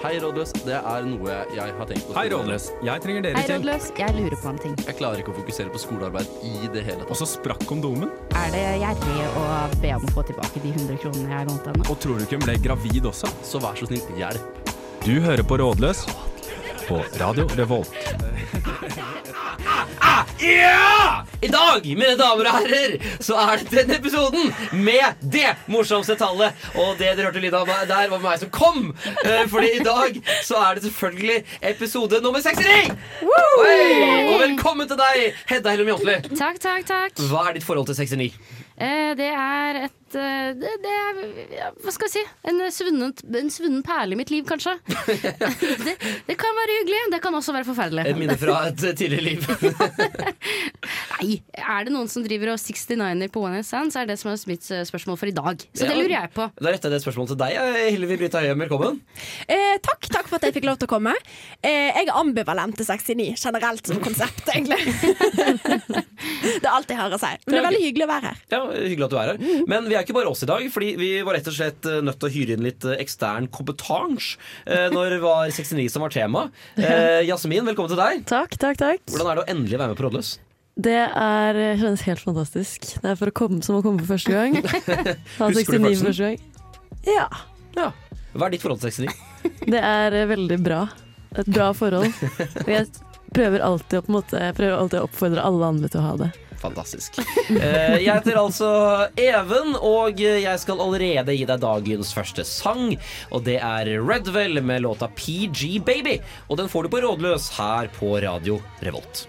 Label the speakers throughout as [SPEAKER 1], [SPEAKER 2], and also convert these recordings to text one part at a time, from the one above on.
[SPEAKER 1] Hei, rådløs. Det er noe jeg har tenkt på.
[SPEAKER 2] Hei, Rådløs. Jeg trenger
[SPEAKER 3] Hei,
[SPEAKER 2] dere til.
[SPEAKER 3] rådløs. Jeg lurer på en ting.
[SPEAKER 1] Jeg klarer ikke å fokusere på skolearbeid i det hele
[SPEAKER 2] Og
[SPEAKER 1] tatt.
[SPEAKER 2] så sprakk kondomen.
[SPEAKER 3] Er det gjerrig å be om å få tilbake de 100 kronene jeg lånte henne?
[SPEAKER 2] Og tror du ikke hun ble gravid også?
[SPEAKER 1] Så vær så snill, hjelp.
[SPEAKER 2] Du hører på Rådløs på Radio Revolt.
[SPEAKER 4] I dag, mine damer og herrer, så er det denne episoden med det morsomste tallet. Og det dere hørte lyden av der, var meg som kom. Eh, Fordi i dag så er det selvfølgelig episode nummer 69! Oi! Og velkommen til deg, Hedda Hellum Jonsli.
[SPEAKER 3] Takk, takk, takk.
[SPEAKER 4] Hva er ditt forhold til 69?
[SPEAKER 3] Eh, det er et eh, det, det er, ja, Hva skal jeg si? En svunnet, en svunnen perle i mitt liv, kanskje. det, det kan være hyggelig. Det kan også være
[SPEAKER 4] Et
[SPEAKER 3] forferdelig.
[SPEAKER 4] minne fra et tidligere liv.
[SPEAKER 3] Nei, er det noen som driver og 69-er på One Night Stand, så er det som er mitt eh, spørsmål for i dag. Så det
[SPEAKER 4] Ja.
[SPEAKER 3] lurer jeg på.
[SPEAKER 4] Da retter jeg det spørsmålet til deg, eh, Hillevi Brita Høyem. Velkommen.
[SPEAKER 5] Eh, takk, takk for at jeg fikk lov til å komme. Eh, jeg er ambivalent til 69 generelt som konsept, egentlig. det er alt jeg har å si. Men det er veldig hyggelig å være her.
[SPEAKER 4] Ja, Hyggelig at du er her. Men vi er ikke bare oss i dag, fordi vi var rett og slett eh, nødt til å hyre inn litt eh, ekstern kompetanse eh, når det var 69 som var tema. Eh, Jasmin, velkommen til deg.
[SPEAKER 6] Takk, takk, takk.
[SPEAKER 4] Hvordan er det å endelig være med på Rådløs?
[SPEAKER 6] Det er, eh, kjennes helt fantastisk. Det er for å komme, som å komme for første gang. Da er
[SPEAKER 4] Husker du
[SPEAKER 6] 69
[SPEAKER 4] følelsen?
[SPEAKER 6] første gang. Ja.
[SPEAKER 4] Ja. Hva er ditt forhold til 69?
[SPEAKER 6] Det er eh, veldig bra. Et bra forhold. Og jeg prøver alltid å, på en måte, jeg prøver alltid å oppfordre alle andre til å ha det.
[SPEAKER 4] Fantastisk. Eh, jeg heter altså Even, og jeg skal allerede gi deg dagens første sang. Og det er Redwell med låta PG Baby. Og den får du på Rådløs her på Radio Revolt.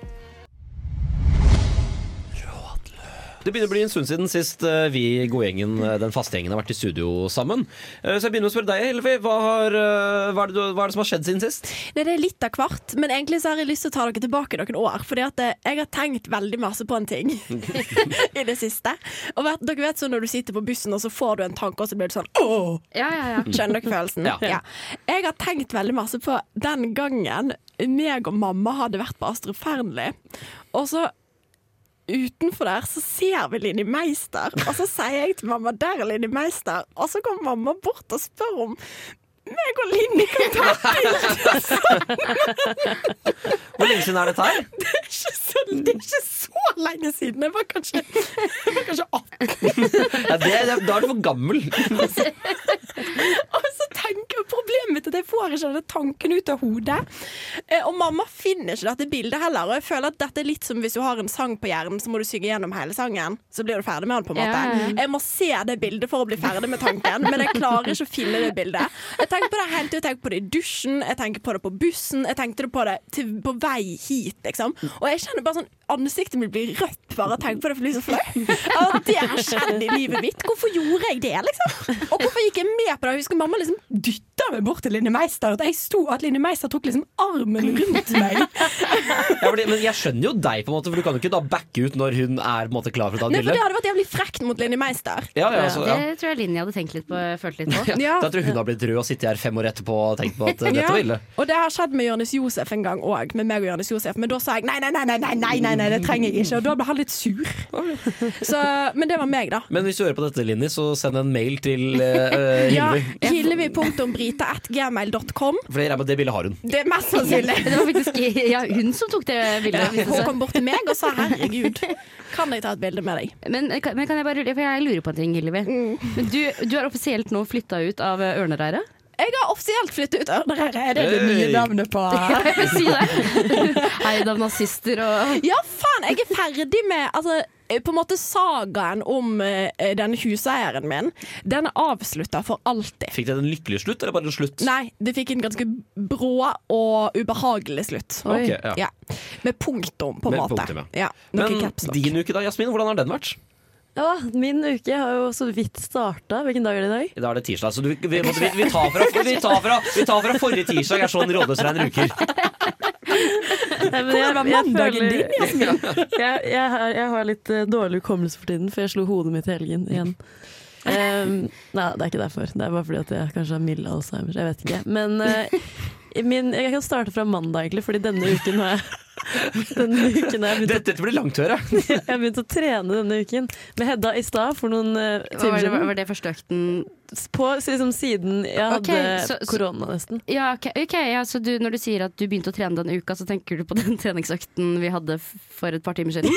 [SPEAKER 4] Det begynner å bli en stund siden sist eh, vi godgjengen, eh, den faste gjengen, har vært i studio sammen. Eh, Så jeg begynner å spørre deg, Helvi. Hva, har, eh, hva, er det du- hva er det som har skjedd siden sist?
[SPEAKER 5] Nei, det er litt av hvert, men egentlig så har jeg lyst til å ta dere tilbake noen år. Fordi at eh, jeg har tenkt veldig masse på en ting i det siste. Og vet, dere vet sånn når du sitter på bussen, og så får du en tanke, og så blir du sånn åh!
[SPEAKER 3] Ja, ja, ja.
[SPEAKER 5] Skjønner dere følelsen?
[SPEAKER 4] Ja.
[SPEAKER 5] Jeg har tenkt veldig masse på den gangen meg og mamma hadde vært på Astrid Fearnley. Og så utenfor der så ser vi Linni Meister, og så sier jeg til mamma der er Linni Meister, og så kommer mamma bort og spør om meg og Linni kan ta et bilde
[SPEAKER 4] Hvor lenge siden er dette her?
[SPEAKER 5] ikke så, Det er ikke så lenge siden. Jeg var kanskje, jeg var kanskje 18.
[SPEAKER 4] Ja, det, det, da er du for gammel.
[SPEAKER 5] Og så tenker jeg Altså, problemet mitt er at jeg får ikke denne tanken ut av hodet. Eh, Og mamma finner ikke dette bildet heller. Og jeg føler at dette er litt som hvis du har en sang på hjernen, så må du synge gjennom hele sangen. Så blir du ferdig med den, på en måte.
[SPEAKER 3] Ja, ja, ja.
[SPEAKER 5] Jeg må se det bildet for å bli ferdig med tanken, men jeg klarer ikke å finne det bildet. Jeg tenker på det hele tiden. Jeg tenker på det i dusjen, jeg tenker på det på bussen, jeg tenkte det på det til, på vei hit, liksom. Og jeg kjenner bare sånn Ansiktet mitt blir rødt bare av å tenke på det, for det blir så flaut. Ja, Det har skjedd i livet mitt. Hvorfor gjorde jeg det, liksom? Og hvorfor gikk jeg med på det? Jeg husker mamma liksom dytta meg bort til Linni Meister. At jeg sto at Linni Meister tok liksom armen rundt meg.
[SPEAKER 4] Ja, fordi, men jeg skjønner jo deg, på en måte for du kan jo ikke da backe ut når hun er på en måte klar for å ta et
[SPEAKER 5] Nei, for
[SPEAKER 4] bilde.
[SPEAKER 5] det hadde vært jævlig frekt mot Linni Meister.
[SPEAKER 4] Ja, ja, altså, ja.
[SPEAKER 3] Det tror jeg Linni hadde tenkt litt på, følt litt på.
[SPEAKER 5] Ja.
[SPEAKER 4] Da tror jeg hun har blitt rød og sittet her fem år etterpå og tenkt på at eh, dette
[SPEAKER 5] Ja,
[SPEAKER 4] var ille.
[SPEAKER 5] Og det har skjedd med Jonis Josef en gang òg, med meg og Jonis Josef. Men da sa jeg nei, nei, nei, nei, nei, nei, nei, nei det trenger jeg ikke. Og da ble han litt sur. Så, men det var meg, da.
[SPEAKER 4] Men hvis du hører på dette, Linni, så send en mail til uh,
[SPEAKER 5] Ja,
[SPEAKER 4] Hilvi.
[SPEAKER 5] Hillevi.brita.gmail.com.
[SPEAKER 4] For jeg regner med at det bildet har hun.
[SPEAKER 5] Det er mest sannsynlig.
[SPEAKER 3] Det var faktisk ja, hun som tok det bildet. viste det
[SPEAKER 5] Hun
[SPEAKER 3] seg.
[SPEAKER 5] kom bort til meg og sa 'herregud, kan jeg ta et bilde med deg'?
[SPEAKER 3] Men, eh, kan- men kan jeg bare rulle, for jeg lurer på en ting, Hillevi.
[SPEAKER 6] Mm.
[SPEAKER 3] Men du, du er offisielt nå flytta ut av eh, ørnereiret?
[SPEAKER 5] Jeg har offisielt flyttet ut Ørnereiret. Er det det nye
[SPEAKER 4] Hey.
[SPEAKER 5] navnet på
[SPEAKER 6] Ah.
[SPEAKER 3] Jeg vil si det. Eid av nazister og
[SPEAKER 5] Ja, faen! Jeg er ferdig med altså, eh, på en måte sagaen om eh, denne huseieren min. Den er avslutta for alltid.
[SPEAKER 4] Fikk det en lykkelig slutt, eller bare en slutt?
[SPEAKER 5] Nei, det fikk en ganske brå og ubehagelig slutt.
[SPEAKER 3] Oi.
[SPEAKER 4] Ok, ja.
[SPEAKER 5] Ja. Med punktum, på en
[SPEAKER 4] Med
[SPEAKER 5] måte.
[SPEAKER 4] punktum,
[SPEAKER 5] ja. Noe
[SPEAKER 4] Men
[SPEAKER 5] caps lock.
[SPEAKER 4] din uke da, Jasmin, hvordan har den vært?
[SPEAKER 6] Ja, min uke har jo så vidt starta. Hvilken dag er det i dag?
[SPEAKER 4] I dag er det tirsdag, så du, vi, vi, vi, vi, tar fra, vi, tar fra, vi tar fra forrige tirsdag. Jeg er sånn rådløs regner uker.
[SPEAKER 6] Nei, men
[SPEAKER 5] Hvordan var mandagen din,
[SPEAKER 6] jeg, jeg, har- jeg har litt eh, dårlig hukommelse for tiden, for jeg slo hodet mitt i helgen igjen. Ehm, nei, det er ikke derfor. Det er bare fordi at jeg kanskje har mild Alzheimer. Jeg vet ikke. Men eh, min, jeg kan starte fra mandag, egentlig, fordi denne uken har jeg denne uken. har Jeg begynte,
[SPEAKER 4] Dette, dette blir langtøre.
[SPEAKER 6] jeg har begynt å trene denne uken med Hedda i stad for noen eh,
[SPEAKER 3] Hva
[SPEAKER 6] timer
[SPEAKER 3] var, det,
[SPEAKER 6] siden.
[SPEAKER 3] var det første økten?
[SPEAKER 6] På liksom, siden jeg hadde
[SPEAKER 3] Ok, så- så-
[SPEAKER 6] korona, nesten.
[SPEAKER 3] Ja, ok. ok, ja, så du, når du sier at du begynte å trene denne uka, så tenker du på den treningsøkten vi hadde f- for et par timer siden?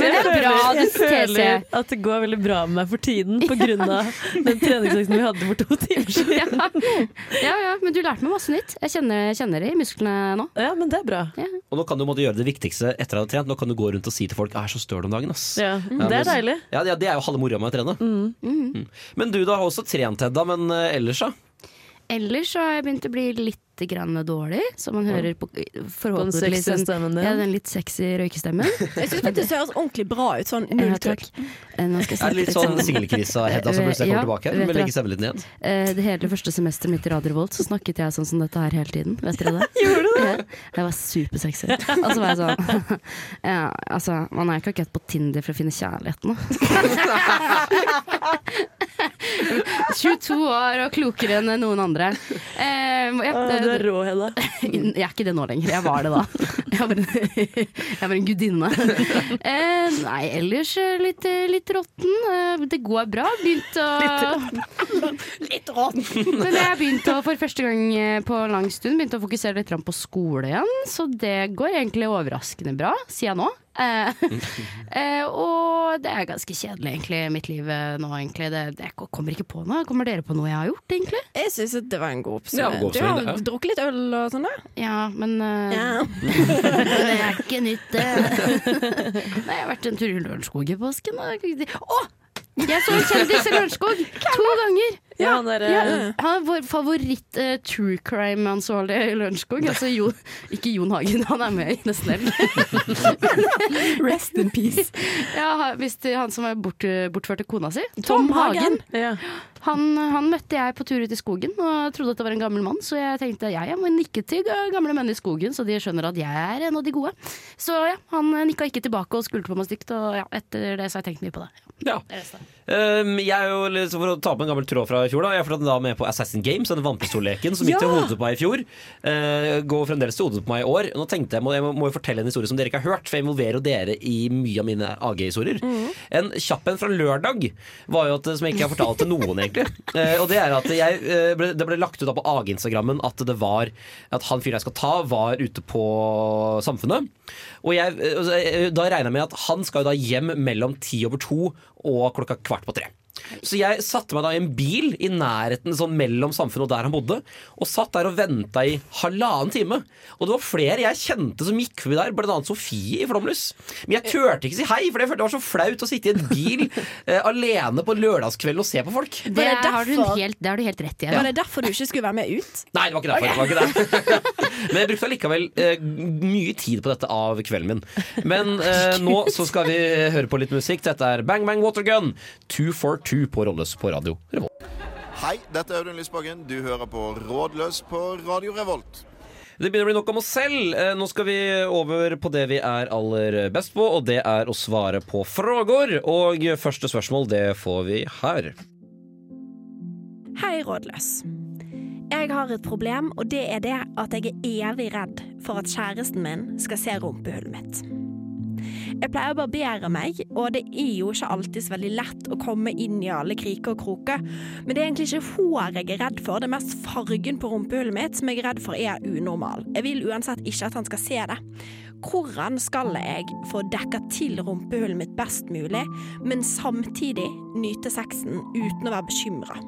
[SPEAKER 3] Men det er bra, du
[SPEAKER 6] jeg føler
[SPEAKER 3] TC.
[SPEAKER 6] at det går veldig bra med meg for tiden pga. den treningsøkten vi hadde for to timer siden.
[SPEAKER 3] Ja. ja, ja, men du lærte meg masse nytt. Jeg kjenner, jeg kjenner det i musklene nå.
[SPEAKER 6] Ja, men det er bra.
[SPEAKER 4] Og nå kan du måtte gjøre det viktigste etter å ha trent. Nå kan du gå rundt og si til folk 'jeg er så støl om dagen', ass.
[SPEAKER 6] Ja, Mm, det
[SPEAKER 4] men-
[SPEAKER 6] er deilig.
[SPEAKER 4] Ja, ja, det er jo halve moroa med å trene. Mm. Men du da har også trent, Hedda. Men eh, ellers, da?
[SPEAKER 3] Ellers så har jeg begynt å bli litt grann dårlig, som man hører på forhåpentligvis
[SPEAKER 6] sexy stemmen din.
[SPEAKER 3] ja, den litt sexy røykestemmen.
[SPEAKER 5] Jeg syns faktisk det høres ordentlig bra ut. Sånn null
[SPEAKER 3] Ja, takk.
[SPEAKER 5] trykk.
[SPEAKER 3] Eh, Nå skal jeg
[SPEAKER 4] Er det
[SPEAKER 3] snakke
[SPEAKER 4] litt sånn singelkrisa, Hedda, som plutselig kommer
[SPEAKER 3] Ja,
[SPEAKER 4] tilbake?
[SPEAKER 3] vet
[SPEAKER 4] Med
[SPEAKER 3] du.
[SPEAKER 4] legge stemmen litt ned?
[SPEAKER 3] Eh, Det hele første semesteret mitt i Radio Volt så snakket jeg sånn som dette her hele tiden. Vet dere det?
[SPEAKER 6] Gjorde du det?
[SPEAKER 3] Ja, Det var supersexy. Og så var jeg sånn ja, Altså, man er jo ikke akkurat på Tinder for å finne kjærligheten, da. 22 år og klokere enn noen andre. Eh, ja,
[SPEAKER 6] Å, Du er rå, Hedda.
[SPEAKER 3] jeg er ikke det nå lenger. Jeg var det da. Jeg var en, jeg var en gudinne. Eh, nei, ellers eh, litt, eh, litt råtten. Eh, det går bra. Begynt å
[SPEAKER 5] Litt rått.
[SPEAKER 3] Men jeg begynte å, for første gang eh, på lang stund begynte å fokusere litt grann på skole igjen, så det går egentlig overraskende bra, sier jeg nå. Eh, eh, og det er ganske kjedelig, egentlig, mitt liv eh, nå, egentlig. Det, det jeg kommer ikke på noe. Kommer dere på noe jeg har gjort, egentlig?
[SPEAKER 5] Jeg syns det var en god
[SPEAKER 4] Ja, en
[SPEAKER 5] oppsummering.
[SPEAKER 4] god
[SPEAKER 5] Du har
[SPEAKER 4] oppsummering, ja.
[SPEAKER 5] drukket litt øl og sånn, da?
[SPEAKER 3] Ja, men eh, det er ikke nytt, det. Nei, jeg har vært en tur i Lørenskog i påsken. da. Å! Jeg så en kjendis i Lørenskog to ganger!
[SPEAKER 6] Ja, han eh, der,
[SPEAKER 3] Ja, han er vår favoritt eh, true crime-ansvarlig i Lørenskog. Altså Jon, ikke Jon Hagen, han er med i Nesten Helg.
[SPEAKER 5] Rest in peace.
[SPEAKER 3] Ja, ha- hvis det- han som er bort, bortført til kona si. Tom, Hagen.
[SPEAKER 6] ja.
[SPEAKER 3] Han, han møtte jeg på tur ut i skogen og trodde at det var en gammel mann, så jeg tenkte ja, jeg må nikke til ga- gamle menn i skogen, så de skjønner at jeg er en av de gode. Så ja, han eh, nikka ikke tilbake og skulte på meg stygt, og ja, etter det så har jeg tenkt mye på det.
[SPEAKER 4] Ja. Um, jeg er jo litt, For å ta på en gammel tråd fra i fjor, da. Jeg har fortsatt da med på Assassin Games, denne vannpistolleken som gikk til hodet på meg i fjor. Eh, går fremdeles til hodet på meg i år. Nå tenkte Jeg må, jeg må- må jo fortelle en historie som dere ikke har hørt, for jeg involverer jo dere i mye av mine AG-historier. En kjapp en fra lørdag var jo at, eh, som jeg ikke har fortalt til noen, egentlig. Eh, og det er at jeg, eh, ble, det ble lagt ut da på AG-instagrammen at det var At han fyren jeg skal ta, var ute på Samfunnet. Og jeg, eh, altså, eh, da regner jeg med at han skal jo da hjem mellom ti over to og klokka kvart på tre. Så jeg satte meg da i en bil i nærheten sånn mellom samfunnet og der han bodde, og satt der og venta i halvannen time. Og det var flere jeg kjente som gikk forbi der, bl.a. Sofie i Flåmlys. Men jeg turte ikke si hei, for jeg følte det var så flaut å sitte i en bil eh, alene på lørdagskvelden og se på folk.
[SPEAKER 3] Det,
[SPEAKER 5] det
[SPEAKER 3] har, du
[SPEAKER 5] derfor-
[SPEAKER 3] helt, det har du helt rett i. Eva.
[SPEAKER 5] Var det derfor du ikke skulle være med ut?
[SPEAKER 4] Nei, det var ikke derfor. Det var ikke det. Men jeg brukte allikevel eh, mye tid på dette av kvelden min. Men eh, nå så skal vi høre på litt musikk. Dette er Bang Bang Watergun 242 på Rolles på radio. Revolt.
[SPEAKER 7] Hei, dette er Audun Lysbakken. Du hører på Rådløs på Radio Revolt.
[SPEAKER 4] Det begynner å bli nok om oss selv. Eh, Nå skal vi over på det vi er aller best på, og det er å svare på frågor. Og første spørsmål, det får vi her.
[SPEAKER 5] Hei, rådløs. Jeg har et problem, og det er det at jeg er evig redd for at kjæresten min skal se rumpehullet mitt. Jeg pleier å barbere meg, og det er jo ikke alltid så veldig lett å komme inn i alle kriker og kroker. Men det er egentlig ikke hår jeg er redd for, det er mest fargen på rumpehullet mitt som jeg er redd for er unormal. Jeg vil uansett ikke at han skal se det. Hvordan skal jeg få dekka til rumpehullet mitt best mulig, men samtidig nyte sexen uten å være bekymra?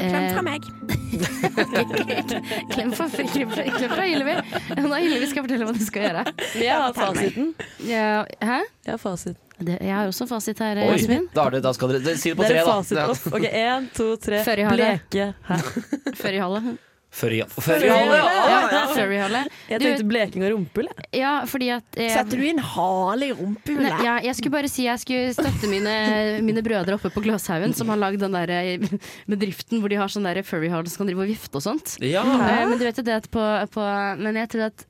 [SPEAKER 5] Klem
[SPEAKER 3] Eh,
[SPEAKER 5] fra meg.
[SPEAKER 3] Klem fra, klem fra, klem fra Hillevi. Nå er Hillevi skal fortelle hva du skal gjøre.
[SPEAKER 6] Men jeg har fasiten.
[SPEAKER 3] Ja, hæ?
[SPEAKER 6] Jeg har fasit.
[SPEAKER 3] Det, jeg har også fasit her,
[SPEAKER 4] Oi,
[SPEAKER 3] Jasmin.
[SPEAKER 4] da, er det, da skal dere det- Si det på
[SPEAKER 6] Det er
[SPEAKER 4] tre,
[SPEAKER 6] en
[SPEAKER 4] da.
[SPEAKER 6] fasit opp. Ok, Én, to, tre.
[SPEAKER 3] Før i havet.
[SPEAKER 6] Bleke. Hæ?
[SPEAKER 3] Furryhale.
[SPEAKER 4] Før i
[SPEAKER 6] Før i havet,
[SPEAKER 4] ja.
[SPEAKER 3] Ja, furryhale.
[SPEAKER 6] Jeg
[SPEAKER 3] Du-
[SPEAKER 6] tenkte bleking og rumpehull. jeg.
[SPEAKER 3] Ja, fordi at eh,
[SPEAKER 5] Setter du inn hale
[SPEAKER 3] Nei,
[SPEAKER 5] i rumpehullet?
[SPEAKER 3] ja, jeg skulle bare si jeg skulle støtte mine, mine brødre oppe på Gløshaugen, som har lagd den der eh, bedriften hvor de har sånn der furryhale som kan drive og vifte og sånt.
[SPEAKER 4] Ja.
[SPEAKER 3] Eh, Men du vet jo det at på, på Men jeg tror at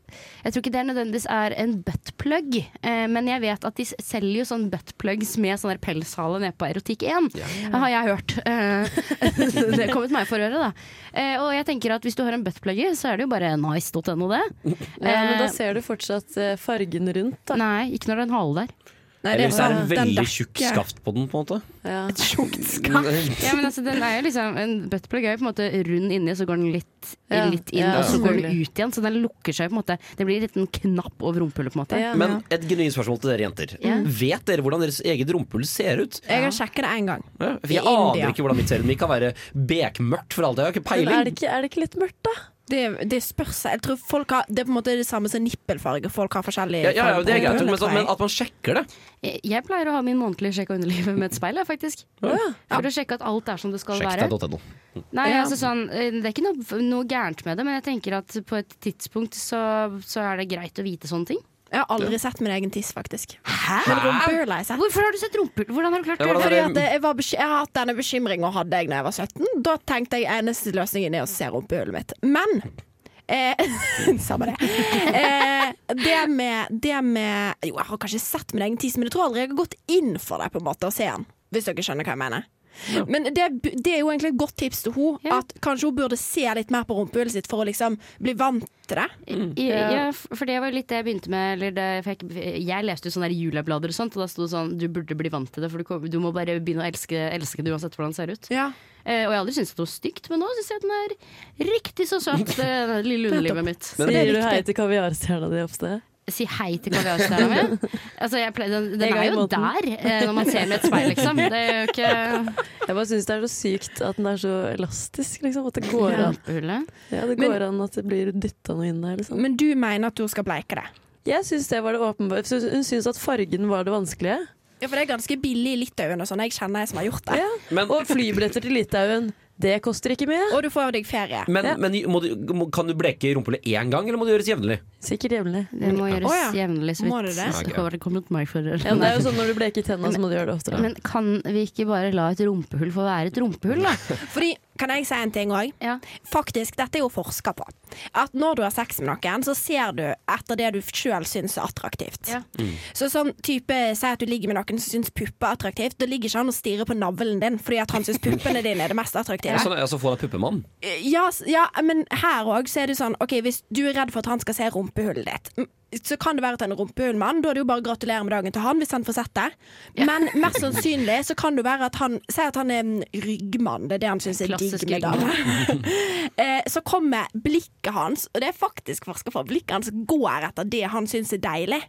[SPEAKER 3] Jeg tror ikke det nødvendigvis er en buttplug, eh, men jeg vet at de s- selger jo sånn buttplugs med sånn der pelshale nede på Erotikk 1. Har jeg hørt. Eh, det er kommet meg for øre, da. Eh, og jeg tenker at hvis du har en buttplugger, så er det jo bare nice.no, det.
[SPEAKER 6] Ja, men da
[SPEAKER 3] Eh,
[SPEAKER 6] ser du fortsatt eh, fargen rundt, da.
[SPEAKER 3] Nei, ikke når det er en hale der.
[SPEAKER 5] Nei,
[SPEAKER 1] Eller hvis det er en
[SPEAKER 5] den
[SPEAKER 1] veldig
[SPEAKER 5] dekker-
[SPEAKER 1] tjukk skaft på den, på en måte.
[SPEAKER 6] Ja.
[SPEAKER 3] Ja, men altså, den er jo liksom, en buttplug er jo på en måte rund inni, så går den litt,
[SPEAKER 6] Ja,
[SPEAKER 3] litt inn,
[SPEAKER 6] ja,
[SPEAKER 3] og så går den
[SPEAKER 6] selvfølgelig.
[SPEAKER 3] ut igjen. Så den lukker seg på en måte. Det blir en liten knapp over rumpehullet, på en måte.
[SPEAKER 6] Ja.
[SPEAKER 1] Men et genuint spørsmål til dere jenter.
[SPEAKER 3] Ja.
[SPEAKER 1] Vet dere hvordan deres eget rumpehull ser ut?
[SPEAKER 5] Jeg har sjekket det én gang.
[SPEAKER 1] Ja, for jeg
[SPEAKER 5] I India.
[SPEAKER 1] aner ikke hvordan mitt ser ut. men Det kan være bekmørkt for alt jeg har. ikke
[SPEAKER 6] Men er
[SPEAKER 1] peiling.
[SPEAKER 6] det, ikke, er det ikke litt mørkt, da?
[SPEAKER 5] Det, det spørs seg. Jeg tror folk har, det er på en måte det samme som nippelfarge. Folk har forskjellig
[SPEAKER 1] Ja, ja, ja,
[SPEAKER 5] farge
[SPEAKER 1] det er
[SPEAKER 5] på
[SPEAKER 1] greit, men,
[SPEAKER 5] rumpene,
[SPEAKER 1] så,
[SPEAKER 5] tror jeg.
[SPEAKER 1] men at man sjekker det.
[SPEAKER 3] Jeg- Jeg pleier å ha min månedlige sjekk av underlivet med et speil, jeg, faktisk. For å sjekke at alt er som det skal være.
[SPEAKER 1] deg.no.
[SPEAKER 3] Nei,
[SPEAKER 5] Ja.
[SPEAKER 3] altså sånn, eh, Det er ikke noe, noe gærent med det, men jeg tenker at på et tidspunkt så, så er det greit å vite sånne ting.
[SPEAKER 5] Jeg har aldri sett min egen tiss, faktisk.
[SPEAKER 3] Hæ?
[SPEAKER 5] Men rumpehull har jeg sett.
[SPEAKER 3] Hvorfor har du sett rumpehull? Hvordan har du klart
[SPEAKER 1] Ja, hvordan er
[SPEAKER 3] det?
[SPEAKER 5] Fordi at jeg, var bekym- jeg har hatt denne bekymringen hadde jeg da jeg var 17. Da tenkte jeg eneste løsningen er å se rumpehullet mitt. Men eh, Samme det. Eh, det, med, det med Jo, jeg har kanskje sett min egen tiss, men jeg tror aldri jeg har gått inn for det på en måte og se den. Hvis dere skjønner hva jeg mener. Men det, bu- det er jo egentlig et godt tips til henne.
[SPEAKER 3] Ja.
[SPEAKER 5] At kanskje hun burde se litt mer på rumpehullet sitt for å liksom bli vant til det.
[SPEAKER 6] Mm.
[SPEAKER 3] Ja, ja, f- for det var jo litt det jeg begynte med. Eller det, for jeg, jeg leste jo sånne der juleblader og sånt, og da sto det sånn du burde bli vant til det, for du, kom, du må bare begynne å elske, elske det uansett hvordan det ser ut.
[SPEAKER 5] Ja.
[SPEAKER 3] Eh, og jeg har aldri syntes at det var stygt, men nå syns jeg at den er riktig så søt, det der lille underlivet mitt.
[SPEAKER 6] Sier du hei til kaviarstjerna di Hofstad?
[SPEAKER 3] Si hei til kaviarstjerna mi. Altså, jeg pleier, den, den
[SPEAKER 6] En gang
[SPEAKER 3] er
[SPEAKER 6] i
[SPEAKER 3] jo der,
[SPEAKER 6] måneden.
[SPEAKER 3] eh, når man ser den i et speil, liksom. Det er jo ikke
[SPEAKER 6] Jeg bare syns det er så sykt at den er så elastisk, liksom. At det går an,
[SPEAKER 3] rumpehullet.
[SPEAKER 6] ja, det
[SPEAKER 5] Men-
[SPEAKER 6] går an at det blir dytta noe inn der, liksom.
[SPEAKER 5] Men du mener at hun skal bleike det?
[SPEAKER 6] Jeg syns det var det åpenbare. Syns- Hun syns at fargen var det vanskelige.
[SPEAKER 5] Ja, for det er ganske billig i Litauen og sånn. Jeg kjenner ei som har gjort det.
[SPEAKER 6] Ja.
[SPEAKER 1] Men,
[SPEAKER 6] Og flybilletter til Litauen, det koster ikke mye.
[SPEAKER 5] Og du får jo deg ferie.
[SPEAKER 1] men, men må du, må, kan du bleke rumpehullet én gang, eller må det gjøres jevnlig?
[SPEAKER 6] Sikkert jevnlig.
[SPEAKER 3] Det må gjøres
[SPEAKER 5] Å ja.
[SPEAKER 3] jevnlig, så
[SPEAKER 5] Må det
[SPEAKER 3] vidt.
[SPEAKER 5] det?
[SPEAKER 3] Så håper det kommer mot meg for
[SPEAKER 6] Ja, men det er jo sånn når du bleker tenna, så må du gjøre det oftere.
[SPEAKER 3] Men kan vi ikke bare la et rumpehull få være et rumpehull, da?
[SPEAKER 5] Fordi, kan jeg si en ting òg?
[SPEAKER 3] Ja.
[SPEAKER 5] Faktisk, dette er jo forska på. At når du har sex med noen, så ser du etter det du sjøl syns er attraktivt.
[SPEAKER 3] Ja.
[SPEAKER 5] Så sånn type, Si at du ligger med noen som syns puppe er attraktivt. Da ligger ikke han og stirrer på navlen din fordi at han syns puppene dine er det mest attraktive.
[SPEAKER 1] Sånn, altså få deg puppemann.
[SPEAKER 5] Ja, s- ja, men her òg så er det sånn OK, hvis du er redd for at han skal se rumpehullet ditt, m, så kan det være at han er rumpehullmann. Da er det jo bare å gratulere med dagen til han hvis han får sett det. Men mest sannsynlig så kan det være at han Si at han er en ryggmann, det er det han syns er digg
[SPEAKER 3] Klassisk
[SPEAKER 5] med damer. Eh, så kommer blikket hans, og det er faktisk forska for, blikket hans går etter det han syns er deilig.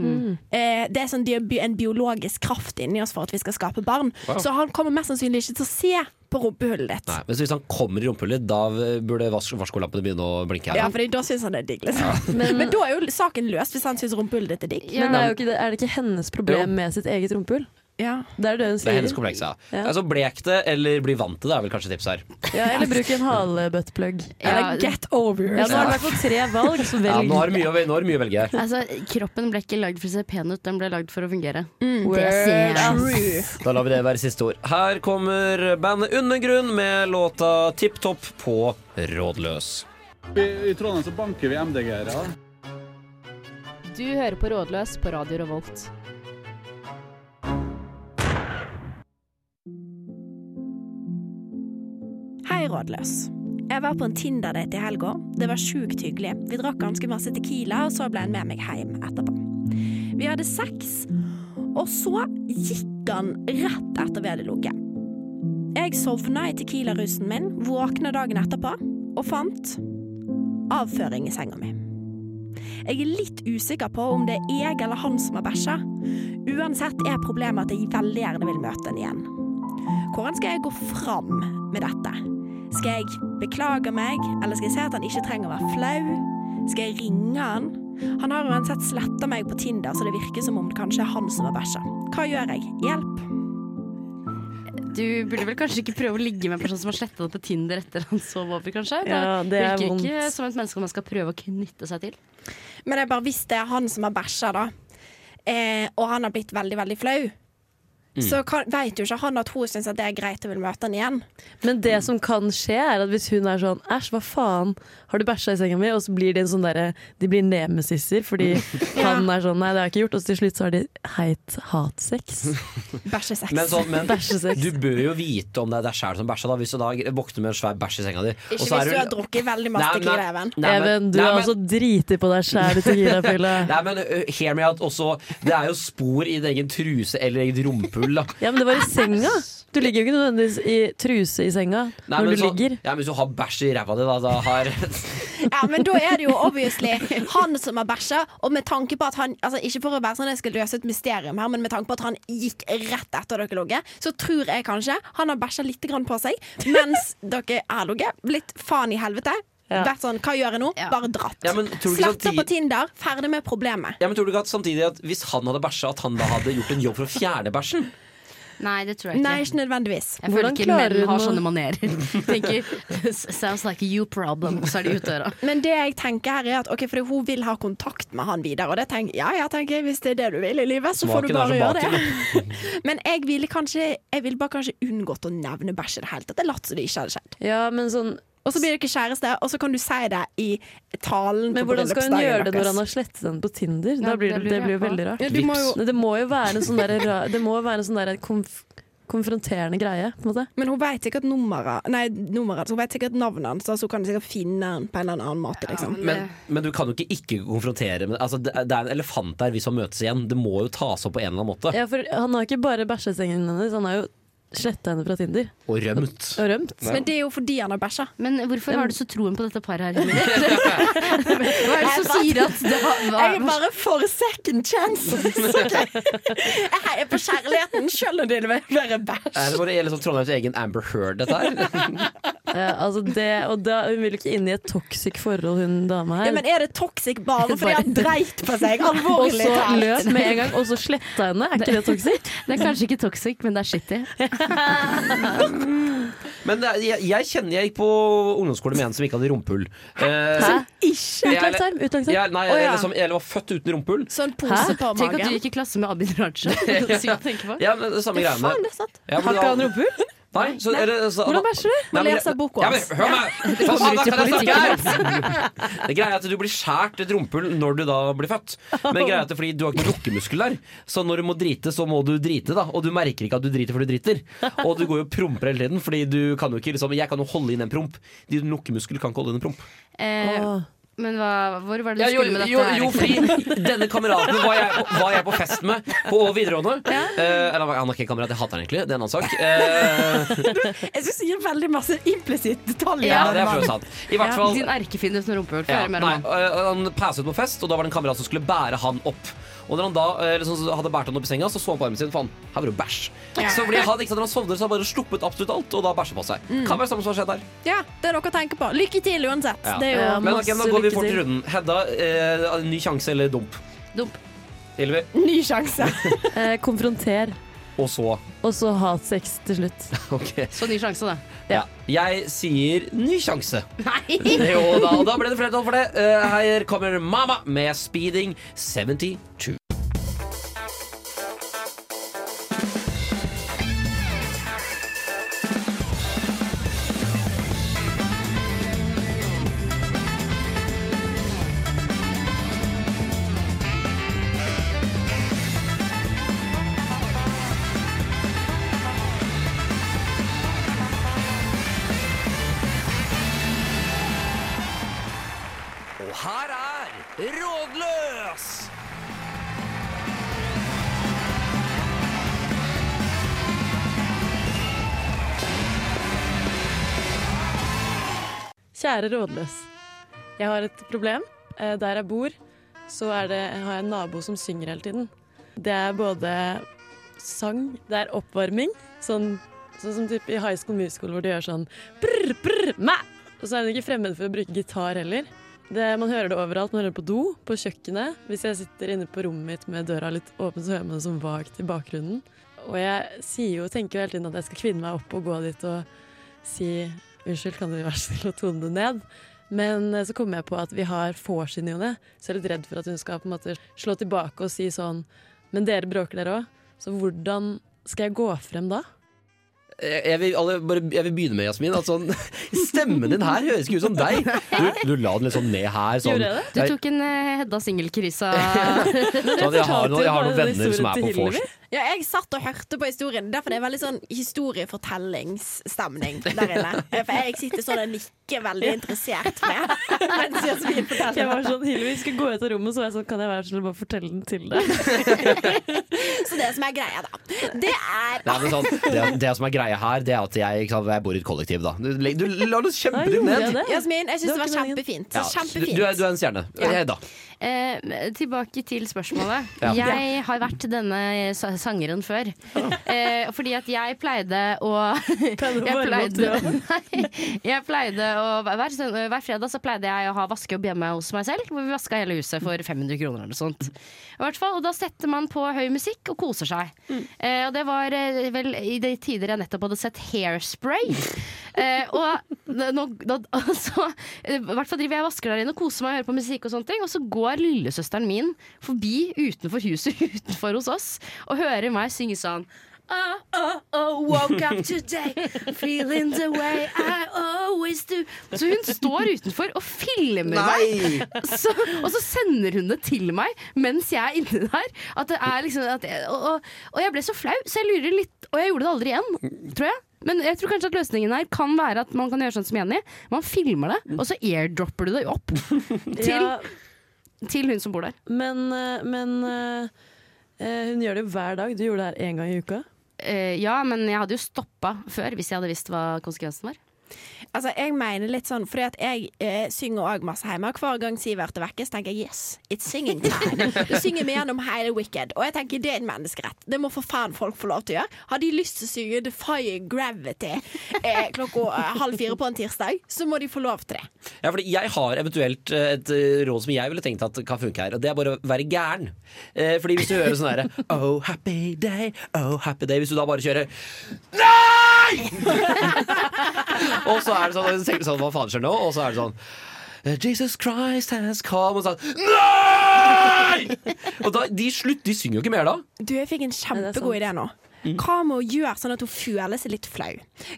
[SPEAKER 5] Eh, det er sånn di- bi- en biologisk kraft inni oss for at vi skal skape barn. Så han kommer mest sannsynlig ikke til å se på rumpehullet ditt.
[SPEAKER 1] Nei, men så hvis han kommer i rumpehullet, da eh, burde vars varskolampene begynne å blinke. her,
[SPEAKER 5] Ja,
[SPEAKER 1] da.
[SPEAKER 5] for da syns han det er digg. Liksom. Men, da er jo saken løst, hvis han syns rumpehullet ditt er digg.
[SPEAKER 6] Men det er, jo ikke, det- er det ikke hennes problem med sitt eget rumpehull?
[SPEAKER 5] Ja.
[SPEAKER 6] Det er det hun
[SPEAKER 1] Det er hennes
[SPEAKER 6] sier.
[SPEAKER 1] kompleks, ja. Altså, blek det, eller bli vant til det, er vel kanskje tipset her.
[SPEAKER 6] Ja, eller bruk en halebuttplug.
[SPEAKER 5] Eller
[SPEAKER 3] Ja,
[SPEAKER 5] get over
[SPEAKER 6] Ja, nå
[SPEAKER 5] yourself.
[SPEAKER 6] har det i hvert fall tre valg, så
[SPEAKER 1] Ja, nå
[SPEAKER 6] velg.
[SPEAKER 1] har du mye, å ve- nå har du mye å velge her.
[SPEAKER 3] altså, kroppen ble ikke lagd for å se pen ut, den ble lagd for å fungere.
[SPEAKER 5] Mm,
[SPEAKER 6] Word.
[SPEAKER 5] True.
[SPEAKER 1] Da lar vi det være siste ord. Her kommer bandet Undergrunn med låta Tipp Topp på Rådløs.
[SPEAKER 8] I, I Trondheim så banker vi MDG-ere.
[SPEAKER 9] Du hører på Rådløs på Radio Revolt.
[SPEAKER 5] Hei, rådløs. Jeg var på en Tinder-date i helga. Det var sjukt hyggelig. Vi drakk ganske masse tequila, og så ble han med meg hjem etterpå. Vi hadde sex, og så gikk han rett etter vi hadde ligget. Jeg sovna i tequilarusen min, våkna dagen etterpå og fant avføring i senga mi. Jeg er litt usikker på om det er jeg eller han som har bæsja. Uansett er problemet at jeg veldig gjerne vil møte han igjen. Hvordan skal jeg gå fram med dette? Skal jeg beklage meg, eller skal jeg si at han ikke trenger å være flau? Skal jeg ringe han? Han har uansett sletta meg på Tinder, så det virker som om det kanskje er han som har bæsja. Hva gjør jeg? Hjelp!
[SPEAKER 3] Du burde vel kanskje ikke prøve å ligge med en person som har sletta det på Tinder etter han sov over, kanskje?
[SPEAKER 6] Ja, det
[SPEAKER 3] det
[SPEAKER 6] er
[SPEAKER 3] virker ikke
[SPEAKER 6] vondt.
[SPEAKER 3] som et menneske man skal prøve å knytte seg til.
[SPEAKER 5] Men jeg bare hvis det er han som har bæsja, da, eh, og han har blitt veldig, veldig flau,
[SPEAKER 1] Mm.
[SPEAKER 5] så kan, vet jo ikke han at hun syns det er greit og vil møte han igjen.
[SPEAKER 6] Men det som kan skje, er at hvis hun er sånn Æsj, hva faen, har du bæsja i senga mi? Og så blir de en sånn derre De blir nemesisser fordi han er sånn Nei, det har jeg ikke gjort. Og så til slutt så har de heit hatsex.
[SPEAKER 5] Bæsjesex.
[SPEAKER 1] Men, sånn, men du
[SPEAKER 6] Bæsjesex.
[SPEAKER 1] bør jo vite om det er deg sjæl som bæsja, da, hvis du da våkner med en svær bæsj i senga di. og
[SPEAKER 5] Ikke
[SPEAKER 1] så er
[SPEAKER 5] hvis du har drukket veldig masse
[SPEAKER 1] Nei, nei,
[SPEAKER 5] tequila, Even.
[SPEAKER 1] nei, men-
[SPEAKER 6] Even, du
[SPEAKER 1] nei,
[SPEAKER 6] har
[SPEAKER 1] men-
[SPEAKER 6] også driti på deg sjæl i tequilafylla.
[SPEAKER 1] Nei, men uh, hear me out også. Det er jo spor i din egen truse eller eget rumpehull. da.
[SPEAKER 6] Ja, men det var i senga. Du ligger jo ikke nødvendigvis i truse i senga
[SPEAKER 1] Nei,
[SPEAKER 6] når
[SPEAKER 1] men sånn-
[SPEAKER 6] du
[SPEAKER 1] så-
[SPEAKER 6] ligger.
[SPEAKER 1] Ja, men hvis du har bæsj i ræva di, da, da har
[SPEAKER 5] Ja, men da er det jo obviously han som har bæsja, og med tanke på at han Altså ikke for å være sånn at jeg skal løse et mysterium her, men med tanke på at han gikk rett etter dere ligget, så tror jeg kanskje han har bæsja litt grann på seg mens dere er ligget. Blitt faen i helvete.
[SPEAKER 6] Ja.
[SPEAKER 5] Vært sånn, hva gjør jeg nå?
[SPEAKER 3] Ja.
[SPEAKER 5] Bare dratt.
[SPEAKER 1] Ja, men tror du ikke sånn
[SPEAKER 5] Sletta
[SPEAKER 1] samtidig-
[SPEAKER 5] på Tinder, ferdig med problemet.
[SPEAKER 1] Ja, men tror du ikke at samtidig at hvis han hadde bæsja, at han da hadde gjort en jobb for å fjerne bæsjen?
[SPEAKER 3] Nei, det tror jeg ikke.
[SPEAKER 5] Nei, ikke nødvendigvis.
[SPEAKER 3] jeg føler
[SPEAKER 6] Hvordan
[SPEAKER 3] ikke
[SPEAKER 6] klarer
[SPEAKER 3] menn
[SPEAKER 6] hun
[SPEAKER 3] har
[SPEAKER 6] å-
[SPEAKER 3] sånne manerer. Tenker, Sounds like a you problem, og så er de ute døra.
[SPEAKER 5] Men det jeg tenker her er at ok, fordi hun vil ha kontakt med han videre. Og det tenker, ja, jeg tenker, hvis det er det du vil i livet, så får du
[SPEAKER 1] Smaken er
[SPEAKER 5] bare
[SPEAKER 1] som
[SPEAKER 5] gjøre det. Men jeg ville kanskje Jeg ville bare kanskje unngått å nevne bæsj i det hele tatt. Jeg latt som det ikke hadde skjedd.
[SPEAKER 6] Ja, men sånn
[SPEAKER 5] Og så blir dere kjæreste, og så kan du si det i talen.
[SPEAKER 1] Sånn
[SPEAKER 6] Men
[SPEAKER 5] på
[SPEAKER 6] hvordan skal hun
[SPEAKER 5] bryllupsdagen
[SPEAKER 6] gjøre det når
[SPEAKER 5] deres.
[SPEAKER 6] han har slettet den på Tinder? Da
[SPEAKER 3] Ja,
[SPEAKER 6] blir det,
[SPEAKER 3] det lurer
[SPEAKER 6] det blir jo
[SPEAKER 3] jeg på.
[SPEAKER 6] veldig rart.
[SPEAKER 5] Ja, du må jo-
[SPEAKER 6] Nei, Det må jo være en sånn derre ra- Det må jo være en sånn derre konf konfronterende greie, på en måte.
[SPEAKER 5] Men hun vet sikkert nummeret Nei, nummeret, så hun vet sikkert navnet hans, så hun kan sikkert finne han på en eller annen måte. Liksom.
[SPEAKER 1] Men, men du kan jo ikke ikke konfrontere med altså, Det det er en elefant der hvis han møtes igjen. Det må jo tas opp på en eller annen måte.
[SPEAKER 6] Ja, for han har ikke bare bæsja i sengen hennes, han har jo sletta henne fra Tinder
[SPEAKER 1] Og rømt.
[SPEAKER 6] og rømt.
[SPEAKER 5] Men det er jo fordi han har bæsja.
[SPEAKER 3] Men hvorfor har du så troen på dette paret her? Hilde? Hva er det som sier at det har
[SPEAKER 5] Jeg er
[SPEAKER 3] hva-
[SPEAKER 5] bare for second chances, OK? Jeg heier på kjærligheten, sjøl om det leverer bæsj.
[SPEAKER 1] Er det bare liksom Trondheims egen Amber Heard, dette her?
[SPEAKER 6] Ja, altså det, og da, hun vil jo ikke inn i et toxic forhold, hun dama
[SPEAKER 5] Ja,
[SPEAKER 6] her.
[SPEAKER 5] men er det toxic bare fordi han dreit på seg?
[SPEAKER 6] Og
[SPEAKER 5] Alvorlig
[SPEAKER 6] så
[SPEAKER 5] talt.
[SPEAKER 6] løp med en gang, og så sletta henne. Er ikke det toxic?
[SPEAKER 3] Det er kanskje ikke toxic, men det er shitty.
[SPEAKER 1] Men det er- jeg, jeg kjenner jeg gikk på ungdomsskole med en som ikke hadde rumpehull. Eh,
[SPEAKER 6] Hæ?
[SPEAKER 5] Ikke.
[SPEAKER 6] Utlagsarm? utlagsarm.
[SPEAKER 1] jeg, nei,
[SPEAKER 5] Å,
[SPEAKER 1] jeg,
[SPEAKER 5] ja.
[SPEAKER 1] liksom, jeg var født uten rumpehull.
[SPEAKER 5] Sånn pose på
[SPEAKER 3] Tenk at du
[SPEAKER 5] magen.
[SPEAKER 3] gikk i klasse med Abid Raja. Sykt å tenke på.
[SPEAKER 1] Ja, men det er samme greiene.
[SPEAKER 5] Faen, det er sant.
[SPEAKER 1] Ja, men
[SPEAKER 6] Har
[SPEAKER 1] da-
[SPEAKER 6] ikke han rumpehull?
[SPEAKER 1] Nei, så, eller, altså, så,
[SPEAKER 6] Hvordan bæsjer du?
[SPEAKER 5] Man
[SPEAKER 1] Nei, men-
[SPEAKER 5] leser boka
[SPEAKER 1] Ja, men
[SPEAKER 5] hans.
[SPEAKER 1] hør meg! Hva faen, da kan jeg snakke her? Det greia er at du blir skjært et rumpehull når du da blir født. Men greia er at det er fordi du har ikke lukkemuskel der. Så når du må drite, så må du drite, da. Og du merker ikke at du driter før du driter. Og du går jo og promper hele tiden, fordi du kan jo ikke liksom Jeg kan jo holde inn en promp. Din lukkemuskel kan ikke holde inn en promp.
[SPEAKER 3] Eh,
[SPEAKER 6] Åh.
[SPEAKER 3] men hva, hvor var det du
[SPEAKER 1] Ja, jo,
[SPEAKER 3] skulle med dette?
[SPEAKER 1] jo,
[SPEAKER 3] her,
[SPEAKER 1] jo,
[SPEAKER 3] egentlig?
[SPEAKER 1] fordi denne kameraten var jeg, var jeg på fest med på videregående. Eh, eller han er ikke en kamerat, jeg hater han egentlig. Det er en annen sak. Eh,
[SPEAKER 5] Jeg syns det gir veldig masse implisitt detaljer.
[SPEAKER 1] ja, det er for sant. I hvert fall
[SPEAKER 3] Din erkefiende uten rumpehull. Få
[SPEAKER 1] Ja,
[SPEAKER 3] høre mer om
[SPEAKER 1] nei, øh,
[SPEAKER 3] han.
[SPEAKER 1] han passet ut på fest, og da var det en kamerat som skulle bære han opp. Og når han da øh, liksom, hadde båret han opp i senga, så så han på armen sin faen, her var det jo bæsj. Så fordi han, ikke sant, når han sovner, så har han bare sluppet absolutt alt, og da bæsjer på
[SPEAKER 6] Mm.
[SPEAKER 1] seg. Kan være samme som har skjedd her.
[SPEAKER 5] Ja, det er noe å tenke på. Lykke til uansett.
[SPEAKER 1] Ja.
[SPEAKER 5] Det er jo
[SPEAKER 6] Ja,
[SPEAKER 1] Men ok, da
[SPEAKER 6] Masse
[SPEAKER 1] går vi
[SPEAKER 6] lykke
[SPEAKER 1] fort i
[SPEAKER 6] til.
[SPEAKER 1] runden. Hedda, øh, ny sjanse eller dump?
[SPEAKER 3] Dump.
[SPEAKER 1] Ylvi.
[SPEAKER 5] ny sjanse.
[SPEAKER 6] Eh, konfronter,
[SPEAKER 1] Og så
[SPEAKER 6] og så hatsex til slutt.
[SPEAKER 1] Ok.
[SPEAKER 3] Så ny sjanse, da.
[SPEAKER 1] Ja. Jeg sier ny sjanse.
[SPEAKER 3] Nei!
[SPEAKER 1] Jo da, og da ble det flertall for det. Eh, her kommer Mama med Speeding 72. Og her er Rådløs!
[SPEAKER 6] Kjære rådløs. Jeg har et problem. Eh, Der jeg bor, så er det, har jeg en nabo som synger hele tiden. Det er både sang, det er oppvarming, sånn, sånn som typ i High School Musical hvor de gjør sånn brr, brr, mæ! Og så er hun ikke fremmed for å bruke gitar heller. Det, man hører det overalt. Man hører det på do, på kjøkkenet. Hvis jeg sitter inne på rommet mitt med døra litt åpen, så hører man det sånn vagt i bakgrunnen. Og jeg sier jo, tenker jo hele tiden at jeg skal kvinne meg opp og gå dit og si Unnskyld, kan du være så snill å tone det ned? Men eh, så kom jeg på at vi har vorsen i henne, så jeg er litt redd for at hun skal på en måte slå tilbake og si sånn Men dere bråker, dere òg. Så hvordan Skal jeg gå frem da?
[SPEAKER 1] Jeg, Eh, jeg, vil, alle, bare, jeg vil begynne med Jasmin. At sånn, stemmen din her høres ikke ut som deg! Du, du la den litt sånn ned her. Sånn,
[SPEAKER 6] Gjorde jeg det?
[SPEAKER 3] Du tok en eh, Hedda singelkrisa.
[SPEAKER 1] sånn, jeg, har noen, jeg har noen
[SPEAKER 6] Fortalte
[SPEAKER 1] venner som er
[SPEAKER 6] historien
[SPEAKER 1] på
[SPEAKER 6] til
[SPEAKER 1] vors.
[SPEAKER 5] Ja, jeg satt og hørte på historien. Derfor er det veldig sånn historiefortellingsstemning der inne. For jeg sitter sånn og nikker veldig interessert med mens Jasmin
[SPEAKER 6] Jeg var
[SPEAKER 5] forteller.
[SPEAKER 6] sånn, Hilvi, vi skal gå ut av rommet, så var jeg sånn, kan jeg være så snill å bare fortelle den til deg?
[SPEAKER 5] Så altså, det som er greia, da, det er
[SPEAKER 1] Nei, men sånn, det, det som er greia her, det er at jeg, ikke sant, jeg bor i et kollektiv, da. Du, du la det
[SPEAKER 6] Da
[SPEAKER 1] kjempe
[SPEAKER 6] gjorde
[SPEAKER 1] deg
[SPEAKER 6] jeg
[SPEAKER 1] ned.
[SPEAKER 6] det.
[SPEAKER 5] Jasmin, jeg syns det var
[SPEAKER 6] Det var ikke
[SPEAKER 5] kjempefint.
[SPEAKER 1] Ja, du,
[SPEAKER 5] Så
[SPEAKER 1] du, er,
[SPEAKER 5] kjempefint.
[SPEAKER 1] du er en stjerne.
[SPEAKER 5] Ja.
[SPEAKER 1] Jeg, da.
[SPEAKER 3] Eh, tilbake til spørsmålet.
[SPEAKER 1] Ja.
[SPEAKER 3] Jeg har vært denne eh, sa- sangeren før. Eh, fordi at jeg pleide å
[SPEAKER 6] Pleide å
[SPEAKER 3] jeg,
[SPEAKER 6] varme opp
[SPEAKER 3] pleide, nei, jeg pleide å hver, søn- hver fredag så pleide jeg å ha vaske opp hjemme hos meg selv. Hvor vi vaska hele huset for 500 kroner eller noe sånt. I hvert fall, og da setter man på høy musikk og koser seg. Eh, og det var eh, vel i de tider jeg nettopp hadde sett hairspray. Eh, og n- nå, da, altså, eh, i hvert fall driver jeg og vasker der inne og koser meg og hører på musikk, og sånne ting Og så går lillesøsteren min forbi utenfor huset utenfor hos oss og hører meg synge sånn Oh, oh, oh, woke up today, feeling the way I always do. Så hun står utenfor og filmer meg så, og så sender hun det til meg mens jeg er inne der. At det er liksom at jeg, og, og, og jeg ble så flau, så jeg lurer litt Og jeg gjorde det aldri igjen, tror jeg. Men jeg tror kanskje at løsningen her kan være at man kan gjøre sånn som Jenny. Man filmer det, og så airdropper du det opp til,
[SPEAKER 6] Ja,
[SPEAKER 3] til hun som bor der.
[SPEAKER 6] men eh, men eh, eh, hun gjør det jo hver dag. Du gjorde det her én gang i uka.
[SPEAKER 3] Eh, ja, men jeg hadde jo stoppa før hvis jeg hadde visst hva konsekvensen var.
[SPEAKER 5] Altså, jeg mener litt sånn, fordi at jeg eh, synger òg masse hjemme. og Hver gang Sivert er vekke, så tenker jeg yes, it's singing time. Da synger vi gjennom hele Wicked. Og jeg tenker det er en menneskerett. Det må for faen folk få lov til å gjøre. Har de lyst til å synge Defying Gravity eh, klokka eh, halv fire på en tirsdag, så må de få lov til det.
[SPEAKER 1] Ja, fordi jeg har eventuelt eh, et eh, råd som jeg ville tenkt at kan funke her, og det er bare å være gæren. Eh, Fordi hvis du hører sånn herre Oh happy day, oh happy day Hvis du da bare kjører Nei! og så er det sånn, og så tenker du sånn Hva faen skjer nå? Og så er det sånn Jesus Christ has come Og sånn Nei! Og da, de slutt, de synger jo ikke mer da.
[SPEAKER 5] Du, jeg fikk en
[SPEAKER 6] det er
[SPEAKER 5] kjempegod idé nå. Hva med å gjøre sånn at hun føler seg litt flau?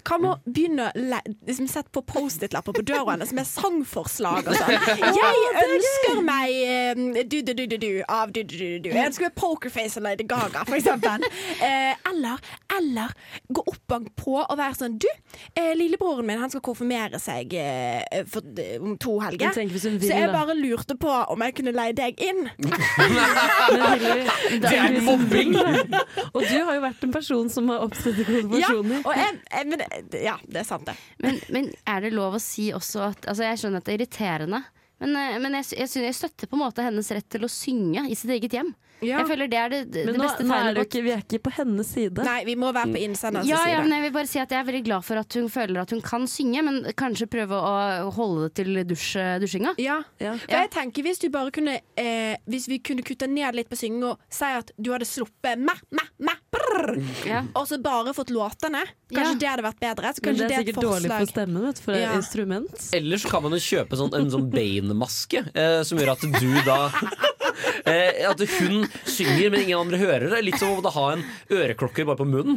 [SPEAKER 5] Hva med å begynne å le- liksom sette på Post-It-lapper på døra hennes med sangforslag og sånn? Jeg ønsker meg eh, du-du-du-du-du av du-du-du-du. Jeg ønsker meg Pokerface og Lady Gaga, for eksempel. Eh, eller, eller gå opp bank på og være sånn Du, eh, lillebroren min han skal konfirmere seg eh, for, om to helger.
[SPEAKER 6] Men tenk hvis hun vil,
[SPEAKER 5] Så jeg
[SPEAKER 6] da.
[SPEAKER 5] bare lurte på om jeg kunne leie deg inn.
[SPEAKER 6] Det er mobbing! Og du har jo vært en person som har oppstått i
[SPEAKER 5] Ja,
[SPEAKER 6] konfirmasjoner.
[SPEAKER 5] og jeg, jeg, men, eh, ja, det er sant, det.
[SPEAKER 3] Men, men er det lov å si også at altså Jeg skjønner at det er irriterende. Men, eh, men jeg, sy- jeg, synes jeg støtter på en måte hennes rett til å synge i sitt eget hjem.
[SPEAKER 5] Ja.
[SPEAKER 3] Jeg føler det er det, det,
[SPEAKER 6] Men
[SPEAKER 3] det
[SPEAKER 6] nå,
[SPEAKER 3] beste
[SPEAKER 6] nå er
[SPEAKER 3] tegnet
[SPEAKER 6] det
[SPEAKER 3] på
[SPEAKER 6] jo ikke, vi er ikke på hennes side.
[SPEAKER 5] Nei, vi må
[SPEAKER 6] Mm.
[SPEAKER 5] være på innsenderens
[SPEAKER 3] Ja, ja, men
[SPEAKER 5] side.
[SPEAKER 3] jeg vil bare si at jeg er veldig glad for at hun føler at hun kan synge, men kanskje prøve å holde det til dusj, eh, dusjinga.
[SPEAKER 5] Ja.
[SPEAKER 6] Ja.
[SPEAKER 5] For jeg tenker Hvis du bare kunne eh, Hvis vi kunne kutte ned litt på synging og si at du hadde sluppet mæ, mæ, mæ, brrr,
[SPEAKER 3] Ja.
[SPEAKER 5] og så bare fått låtene, kanskje
[SPEAKER 3] Ja.
[SPEAKER 5] det hadde vært bedre. Så
[SPEAKER 6] Men det
[SPEAKER 5] kanskje
[SPEAKER 6] er
[SPEAKER 5] det er et
[SPEAKER 6] sikkert dårlig for
[SPEAKER 5] forslag.
[SPEAKER 6] stemmen, vet, du, for
[SPEAKER 5] Ja.
[SPEAKER 6] et instrument.
[SPEAKER 1] Ellers kan man jo kjøpe sånn, en sånn Bane-maske eh, som gjør at du da eh, At hun synger, men ingen andre hører det. Litt som å måtte ha en øreklokke bare på munnen.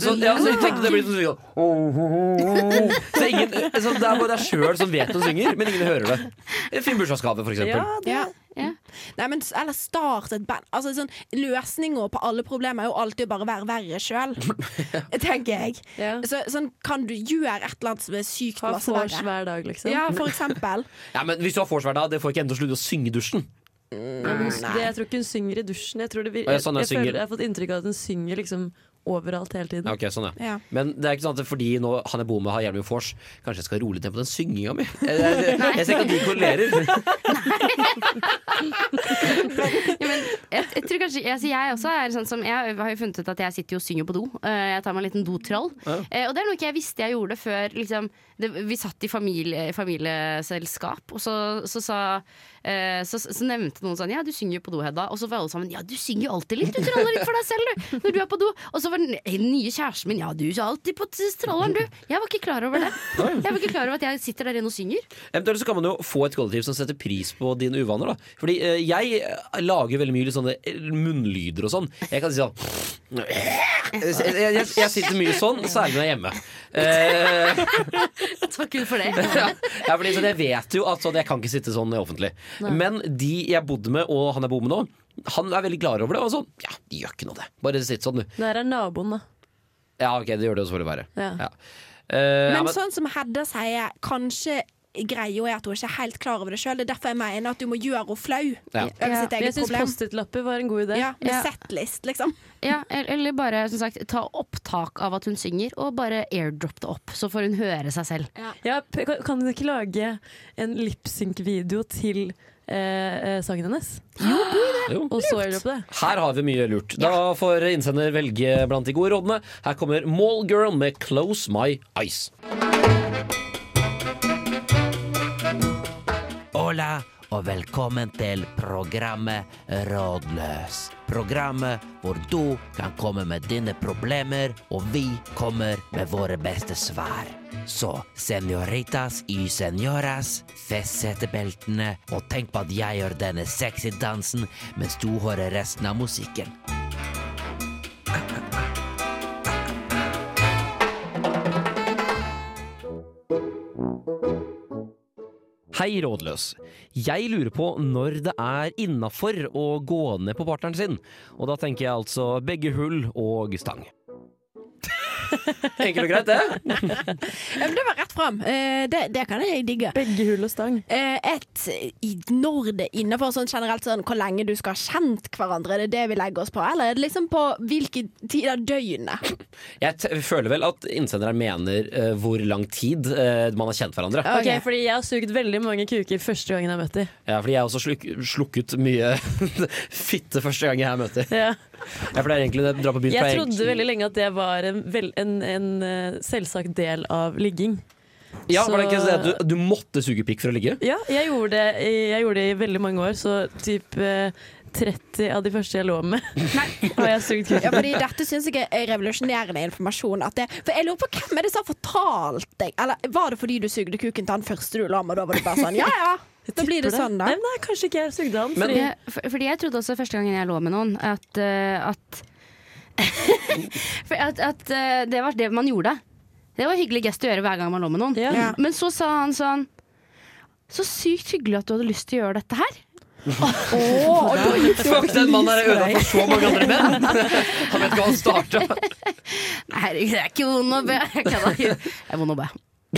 [SPEAKER 1] Så, ja, så jeg tenkte det blir sånn sånn- Så ingen, så Det er bare deg sjøl som vet hun synger, men ingen hører det. En fin bursdagsgave, for eksempel.
[SPEAKER 5] Ja.
[SPEAKER 3] Ja.
[SPEAKER 5] Nei, men, s- eller start et band. Altså, sånn, Løsninger på alle problemer er jo alltid å bare være verre sjøl, tenker jeg.
[SPEAKER 6] Ja.
[SPEAKER 5] Så, sånn, kan du gjøre et eller annet som er sykt
[SPEAKER 6] Ha
[SPEAKER 5] masse
[SPEAKER 6] vors
[SPEAKER 5] verre?
[SPEAKER 6] hver dag, liksom.
[SPEAKER 5] Ja, for eksempel.
[SPEAKER 1] Ja, men Hvis du har vorsvær da, det får ikke henne til å slutte å synge i dusjen.
[SPEAKER 5] Mm.
[SPEAKER 6] Det, jeg tror ikke hun synger i dusjen. Jeg, tror det vir-
[SPEAKER 1] Å, ja, sånn, hun
[SPEAKER 6] jeg, jeg,
[SPEAKER 1] synger.
[SPEAKER 6] føler, jeg har fått inntrykk av at hun synger liksom overalt hele tiden.
[SPEAKER 1] Ja, ok, sånn ja.
[SPEAKER 5] Ja.
[SPEAKER 1] Men det er ikke sånn at det er fordi nå han jeg bor med har jævlig mye vors, kanskje jeg skal roe litt ned på den synginga mi? Jeg, jeg, jeg, jeg ser ikke at de korrelerer.
[SPEAKER 3] Ja, men jeg, jeg tror kanskje altså Jeg også er sånn som Jeg har jo funnet ut at jeg sitter jo og synger på do. Eh, Jeg tar meg en liten dotroll. Eh, Og det er noe ikke jeg visste jeg gjorde før liksom, det, vi satt i familie, familieselskap, og så, så sa eh, så, så nevnte noen sånn Ja, du synger jo på do, Hedda. Og så var alle sammen Ja, du synger jo alltid litt. Du troller litt for deg selv, du. Når du er på do. Og så var den den nye kjæresten min Ja, du er alltid på strolleren, du. Jeg var ikke klar over det. Jeg var ikke klar over at jeg sitter der inne og synger.
[SPEAKER 1] Eventuelt så kan man jo få et kollektiv som setter pris på dine uvaner. da Fordi eh, jeg eh, lager veldig mye litt sånne eh, munnlyder og sånn. Jeg kan si sånn Jeg, jeg, jeg sitter mye sånn, særlig når jeg er hjemme. Eh,
[SPEAKER 3] Takk Gud for det.
[SPEAKER 1] ja, fordi, sånn, jeg vet jo at sånn, jeg kan ikke sitte sånn offentlig. Men de jeg bodde med, og han jeg bor med nå, han er veldig klar over det. Og sånn, ja, de gjør ikke noe det. Bare sitt sånn, du.
[SPEAKER 6] Der er naboen, da.
[SPEAKER 1] Ja, ok, det gjør det jo selvfølgelig bare.
[SPEAKER 6] Ja.
[SPEAKER 1] Ja. Eh, ja,
[SPEAKER 5] Men
[SPEAKER 1] men-
[SPEAKER 5] sånn som Hedda sier, kanskje greia er at hun ikke er helt klar over det sjøl. Det er derfor jeg mener at du må gjøre henne flau
[SPEAKER 1] Ja.
[SPEAKER 5] over sitt
[SPEAKER 6] Jeg
[SPEAKER 5] eget
[SPEAKER 6] syns
[SPEAKER 5] problem.
[SPEAKER 6] Post-It-lapper var en god idé.
[SPEAKER 5] Ja, med
[SPEAKER 3] Ja.
[SPEAKER 5] settlist, liksom.
[SPEAKER 3] Ja, el- eller bare som sagt, ta opptak av at hun synger, og bare airdrop det opp. Så får hun høre seg selv.
[SPEAKER 6] Ja, p- kan- kan hun ikke lage en lipsync-video til eh, eh, sangen hennes?
[SPEAKER 1] jo.
[SPEAKER 6] Og så gjør du på det.
[SPEAKER 1] Her har vi mye lurt. Da får innsender velge blant de gode rådene. Her kommer Mallgirl med 'Close My Eyes'. Hola og velkommen til programmet Rådløs. Programmet hvor du kan komme med dine problemer, og vi kommer med våre beste svar. Så senoritas y senoras, fest setebeltene, og tenk på at jeg gjør denne sexy dansen mens du hører resten av musikken. Hei, rådløs. Jeg lurer på når det er innafor å gå ned på partneren sin. Og da tenker jeg altså begge hull og stang. Enkelt og greit, det.
[SPEAKER 5] Ja, men det var rett fram. Eh, det, det kan jeg digge.
[SPEAKER 6] Begge hull og stang.
[SPEAKER 5] Eh, et i- når det er innenfor sånn generelt sånn hvor lenge du skal ha kjent hverandre, er det det vi legger oss på? Eller er det liksom på hvilke tider av døgnet?
[SPEAKER 1] Jeg t føler vel at innsenderen mener eh, hvor lang tid eh, man har kjent hverandre.
[SPEAKER 6] Ok, fordi jeg har sugd veldig mange kuker første gangen jeg møtte dem.
[SPEAKER 1] Ja, fordi jeg har også sluk slukket mye fitte første gang jeg her møter.
[SPEAKER 6] Ja.
[SPEAKER 1] Jeg pleier egentlig å dra på byen.
[SPEAKER 6] Jeg
[SPEAKER 1] pleier
[SPEAKER 6] trodde
[SPEAKER 1] egentlig-
[SPEAKER 6] veldig lenge at det var en, vel, en, en eh, selvsagt del av ligging.
[SPEAKER 1] Ja, var det
[SPEAKER 6] så-
[SPEAKER 1] ikke det at du, du måtte suge pikk for å ligge?
[SPEAKER 6] Ja, jeg gjorde det i, jeg gjorde det i veldig mange år, så typ eh, 30 av de første jeg lå med, har jeg sugd
[SPEAKER 5] Ja,
[SPEAKER 6] kuken.
[SPEAKER 5] fordi dette syns jeg er revolusjonerende informasjon. At det, for jeg lurer på Hvem er det som har fortalt deg? Eller var det fordi du sugde kuken til han første du la med? og Da var det bare sånn, ja ja, da blir det sånn, da.
[SPEAKER 6] Nei, nei, kanskje ikke jeg sugde han.
[SPEAKER 1] Men-
[SPEAKER 6] fordi-
[SPEAKER 3] Ja, for- Fordi jeg trodde også første gangen jeg lå med noen, at, eh, at, for at, at eh, det var det man gjorde. Det var en hyggelig gest å gjøre hver gang man lå med noen.
[SPEAKER 6] Ja.
[SPEAKER 5] Ja.
[SPEAKER 3] Men så sa han sånn Så sykt hyggelig at du hadde lyst til å gjøre dette her.
[SPEAKER 5] Åh, og da gikk det jo
[SPEAKER 1] Fuck, den mannen er
[SPEAKER 5] for
[SPEAKER 1] ødelagt
[SPEAKER 5] deg.
[SPEAKER 1] for så mange andre menn! Han vet ikke hva han starta.
[SPEAKER 3] Nei, herregud, jeg er ikke vond å be. Jeg kødda. Jeg er vond å be.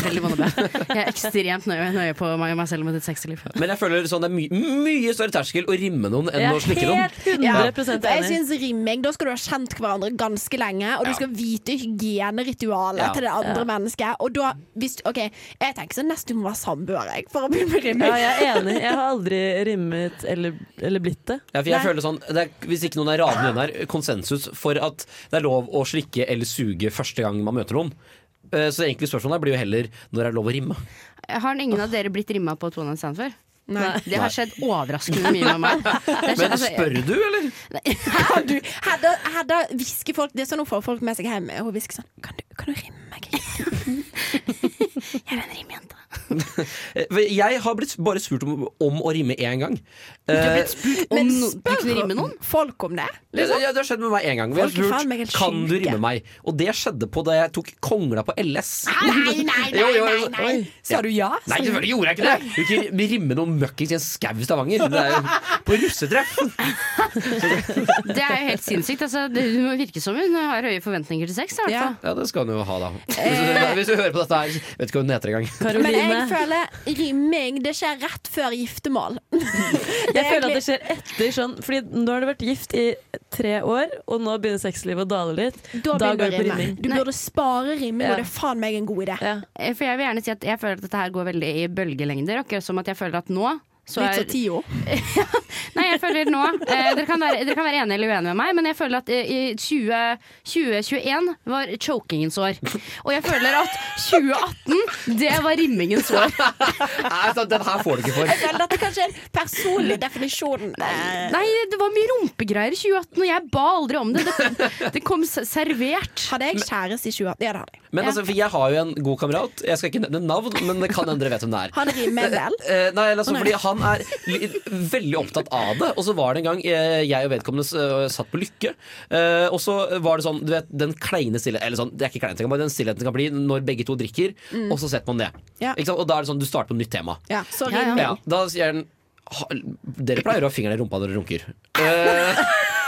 [SPEAKER 3] Veldig vond å be. Jeg er ekstremt nøye, nøye på meg, meg selv med ditt sexliv.
[SPEAKER 1] Men jeg føler sånn, det er my mye større terskel å rimme noen enn
[SPEAKER 6] Jeg
[SPEAKER 1] å
[SPEAKER 6] er
[SPEAKER 1] slikke noen.
[SPEAKER 6] helt
[SPEAKER 5] Ja,
[SPEAKER 6] 100
[SPEAKER 5] for jeg
[SPEAKER 6] enig.
[SPEAKER 5] synes rimming, Da skal du ha kjent hverandre ganske lenge, og du skal vite hygieneritualet
[SPEAKER 1] Ja.
[SPEAKER 5] til det andre mennesket. Og da, hvis, ok, Jeg tenker sånn nesten du må være samboer jeg, for å begynne med
[SPEAKER 6] Ja,
[SPEAKER 5] rimming.
[SPEAKER 6] jeg er enig. Jeg har aldri rimmet eller, eller blitt det.
[SPEAKER 1] Ja, for jeg føler sånn, det er, Hvis ikke noen er radende igjen her, konsensus for at det er lov å slikke eller suge første gang man møter noen. Eh, Så egentlig spørsmålet her blir jo heller når det er lov å rimme.
[SPEAKER 3] Har ingen av dere blitt rimma på Tone Sand før?
[SPEAKER 5] Nei.
[SPEAKER 3] Det har skjedd overraskende mye med meg. Det har skjedd-
[SPEAKER 1] Men
[SPEAKER 3] altså,
[SPEAKER 1] spør du, eller?
[SPEAKER 5] Kan du, Hedda, Hedda hvisker folk Det er sånn hun får folk med seg hjem. Hun hvisker sånn Kan du, kan du rimme meg?
[SPEAKER 3] Jeg er en rimjente.
[SPEAKER 1] Eh, for Jeg har blitt bare spurt om, om å rimme én gang. Eh,
[SPEAKER 3] Om
[SPEAKER 5] Men
[SPEAKER 3] no- du kunne
[SPEAKER 5] spør
[SPEAKER 3] rimme noen?
[SPEAKER 5] folk om det?
[SPEAKER 1] ja,
[SPEAKER 6] liksom?
[SPEAKER 1] ja, det har skjedd med meg én gang. Vi har
[SPEAKER 5] Folk er faen meg helt
[SPEAKER 1] spurt kan du
[SPEAKER 5] sjuke.
[SPEAKER 1] rimme meg. Og det skjedde på da jeg tok kongla på LS.
[SPEAKER 5] Nei, nei, nei!
[SPEAKER 1] Jo, jo,
[SPEAKER 5] nei,
[SPEAKER 1] jo.
[SPEAKER 5] nei. Sa du ja?
[SPEAKER 1] Nei, selvfølgelig gjorde jeg ikke det! Du kan ikke rimme noen møkkings i en skau i Stavanger. Det er jo på russetreff.
[SPEAKER 3] Det er jo helt sinnssykt. Altså, det det må virke som hun har høye forventninger til sex. Da, i hvert
[SPEAKER 5] Ja.
[SPEAKER 3] fall.
[SPEAKER 1] Ja, det skal hun jo ha, da. Hvis du, hvis du hører på dette her, vet ikke hva hun heter engang.
[SPEAKER 5] Men jeg
[SPEAKER 6] Karoline.
[SPEAKER 5] føler rimming det skjer rett før giftermål.
[SPEAKER 6] Jeg føler at det skjer etter sånn Fordi nå har du vært gift i tre år, og nå begynner sexlivet å dale litt.
[SPEAKER 5] Da
[SPEAKER 6] Da
[SPEAKER 5] begynner du
[SPEAKER 6] går det
[SPEAKER 5] å
[SPEAKER 6] på
[SPEAKER 5] rimme.
[SPEAKER 6] rimming.
[SPEAKER 5] Du burde spare rimming,
[SPEAKER 6] Ja.
[SPEAKER 5] og det er faen meg en god idé.
[SPEAKER 6] Ja.
[SPEAKER 3] Eh, For jeg vil gjerne si at jeg føler at dette her går veldig i bølgelengder. Akkurat som at jeg føler at nå så
[SPEAKER 5] Litt
[SPEAKER 3] er,
[SPEAKER 5] sånn ti år.
[SPEAKER 3] Nei, jeg føler nå eh, dere, kan være, dere kan være enige eller uenige med meg, men jeg føler at eh, i 20, 2021 var chokingens år. Og jeg føler at 2018, det var rimmingens år.
[SPEAKER 1] Nei, så Den her får du ikke for.
[SPEAKER 5] Jeg føler dette er kanskje en personlig definisjon. Eh,
[SPEAKER 3] Nei, det var mye rumpegreier i 2018, og jeg ba aldri om det. Det, det kom s- servert.
[SPEAKER 5] Hadde jeg kjæreste i 2018? Ja, det hadde jeg.
[SPEAKER 1] Men
[SPEAKER 3] Ja.
[SPEAKER 1] altså, for jeg har jo en god kamerat. Jeg skal ikke nevne navn, men det kan hende dere vet hvem det er.
[SPEAKER 5] Han rimer vel.
[SPEAKER 1] Eh, nei, altså,
[SPEAKER 5] Å, nei.
[SPEAKER 1] fordi han er li- veldig opptatt av det. Og så var det en gang eh, jeg og vedkommende s- eh, satt på Lykke. eh, og så var det sånn, du vet, den kleine stillheten Eller sånn, det er ikke kleine, men den stillheten det kan bli når begge to drikker, og så setter man det.
[SPEAKER 5] Ja.
[SPEAKER 1] Ikke sant? Og da er det sånn, du starter på nytt tema.
[SPEAKER 5] Ja, så
[SPEAKER 3] Ja, ja.
[SPEAKER 5] rimer
[SPEAKER 1] Ja, da sier den "Ha- Dere pleier å ha fingeren i rumpa når dere runker. Eh,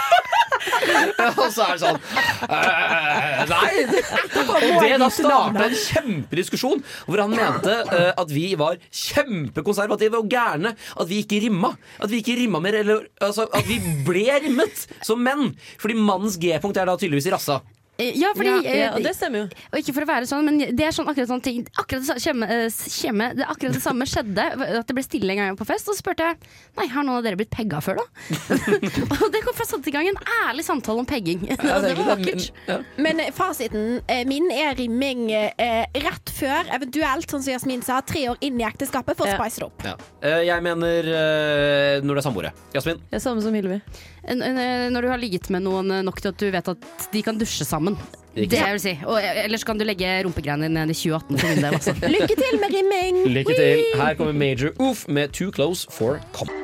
[SPEAKER 1] og så er det sånn eh, Nei! Det, og det da starta en kjempediskusjon hvor han mente eh, at vi var kjempekonservative og gærne. At vi ikke rimma. At vi ikke rimma mer, eller altså, at vi ble rimmet som menn. Fordi mannens G-punkt er da tydeligvis i rassa.
[SPEAKER 3] Eh, Ja, fordi
[SPEAKER 6] ja, ja,
[SPEAKER 3] eh,
[SPEAKER 6] og det stemmer jo.
[SPEAKER 3] Og ikke for å være sånn, men det er sånn akkurat sånn ting Akkurat det samme, kjemme, eh, kjemme, det, akkurat det samme skjedde. At det ble stille en gang jeg var på fest. Og så spurte jeg Nei, har noen av dere blitt pegga før, da? og det kom fra satte i gang en ærlig samtale om pegging. og det var vakkert.
[SPEAKER 1] Ja.
[SPEAKER 5] Men eh, fasiten eh, min er rimming eh, rett før, eventuelt, sånn som Jasmin sa, tre år inn i ekteskapet for å
[SPEAKER 6] Ja.
[SPEAKER 5] spice det opp.
[SPEAKER 1] Ja. Eh, jeg mener eh, når det er samboere. Jasmin?
[SPEAKER 6] Det er samme som Hylvi.
[SPEAKER 3] N- n- eh, Når du har ligget med noen eh, nok til at du vet at de kan dusje sammen.
[SPEAKER 1] Riktig.
[SPEAKER 3] Det vil si. Og eh, ellers kan du legge rumpegreiene dine ned i 2018 på vinduet. altså.
[SPEAKER 5] Lykke til med rimming!
[SPEAKER 1] Lykke til. Her kommer Major Oof med Too Close for Com.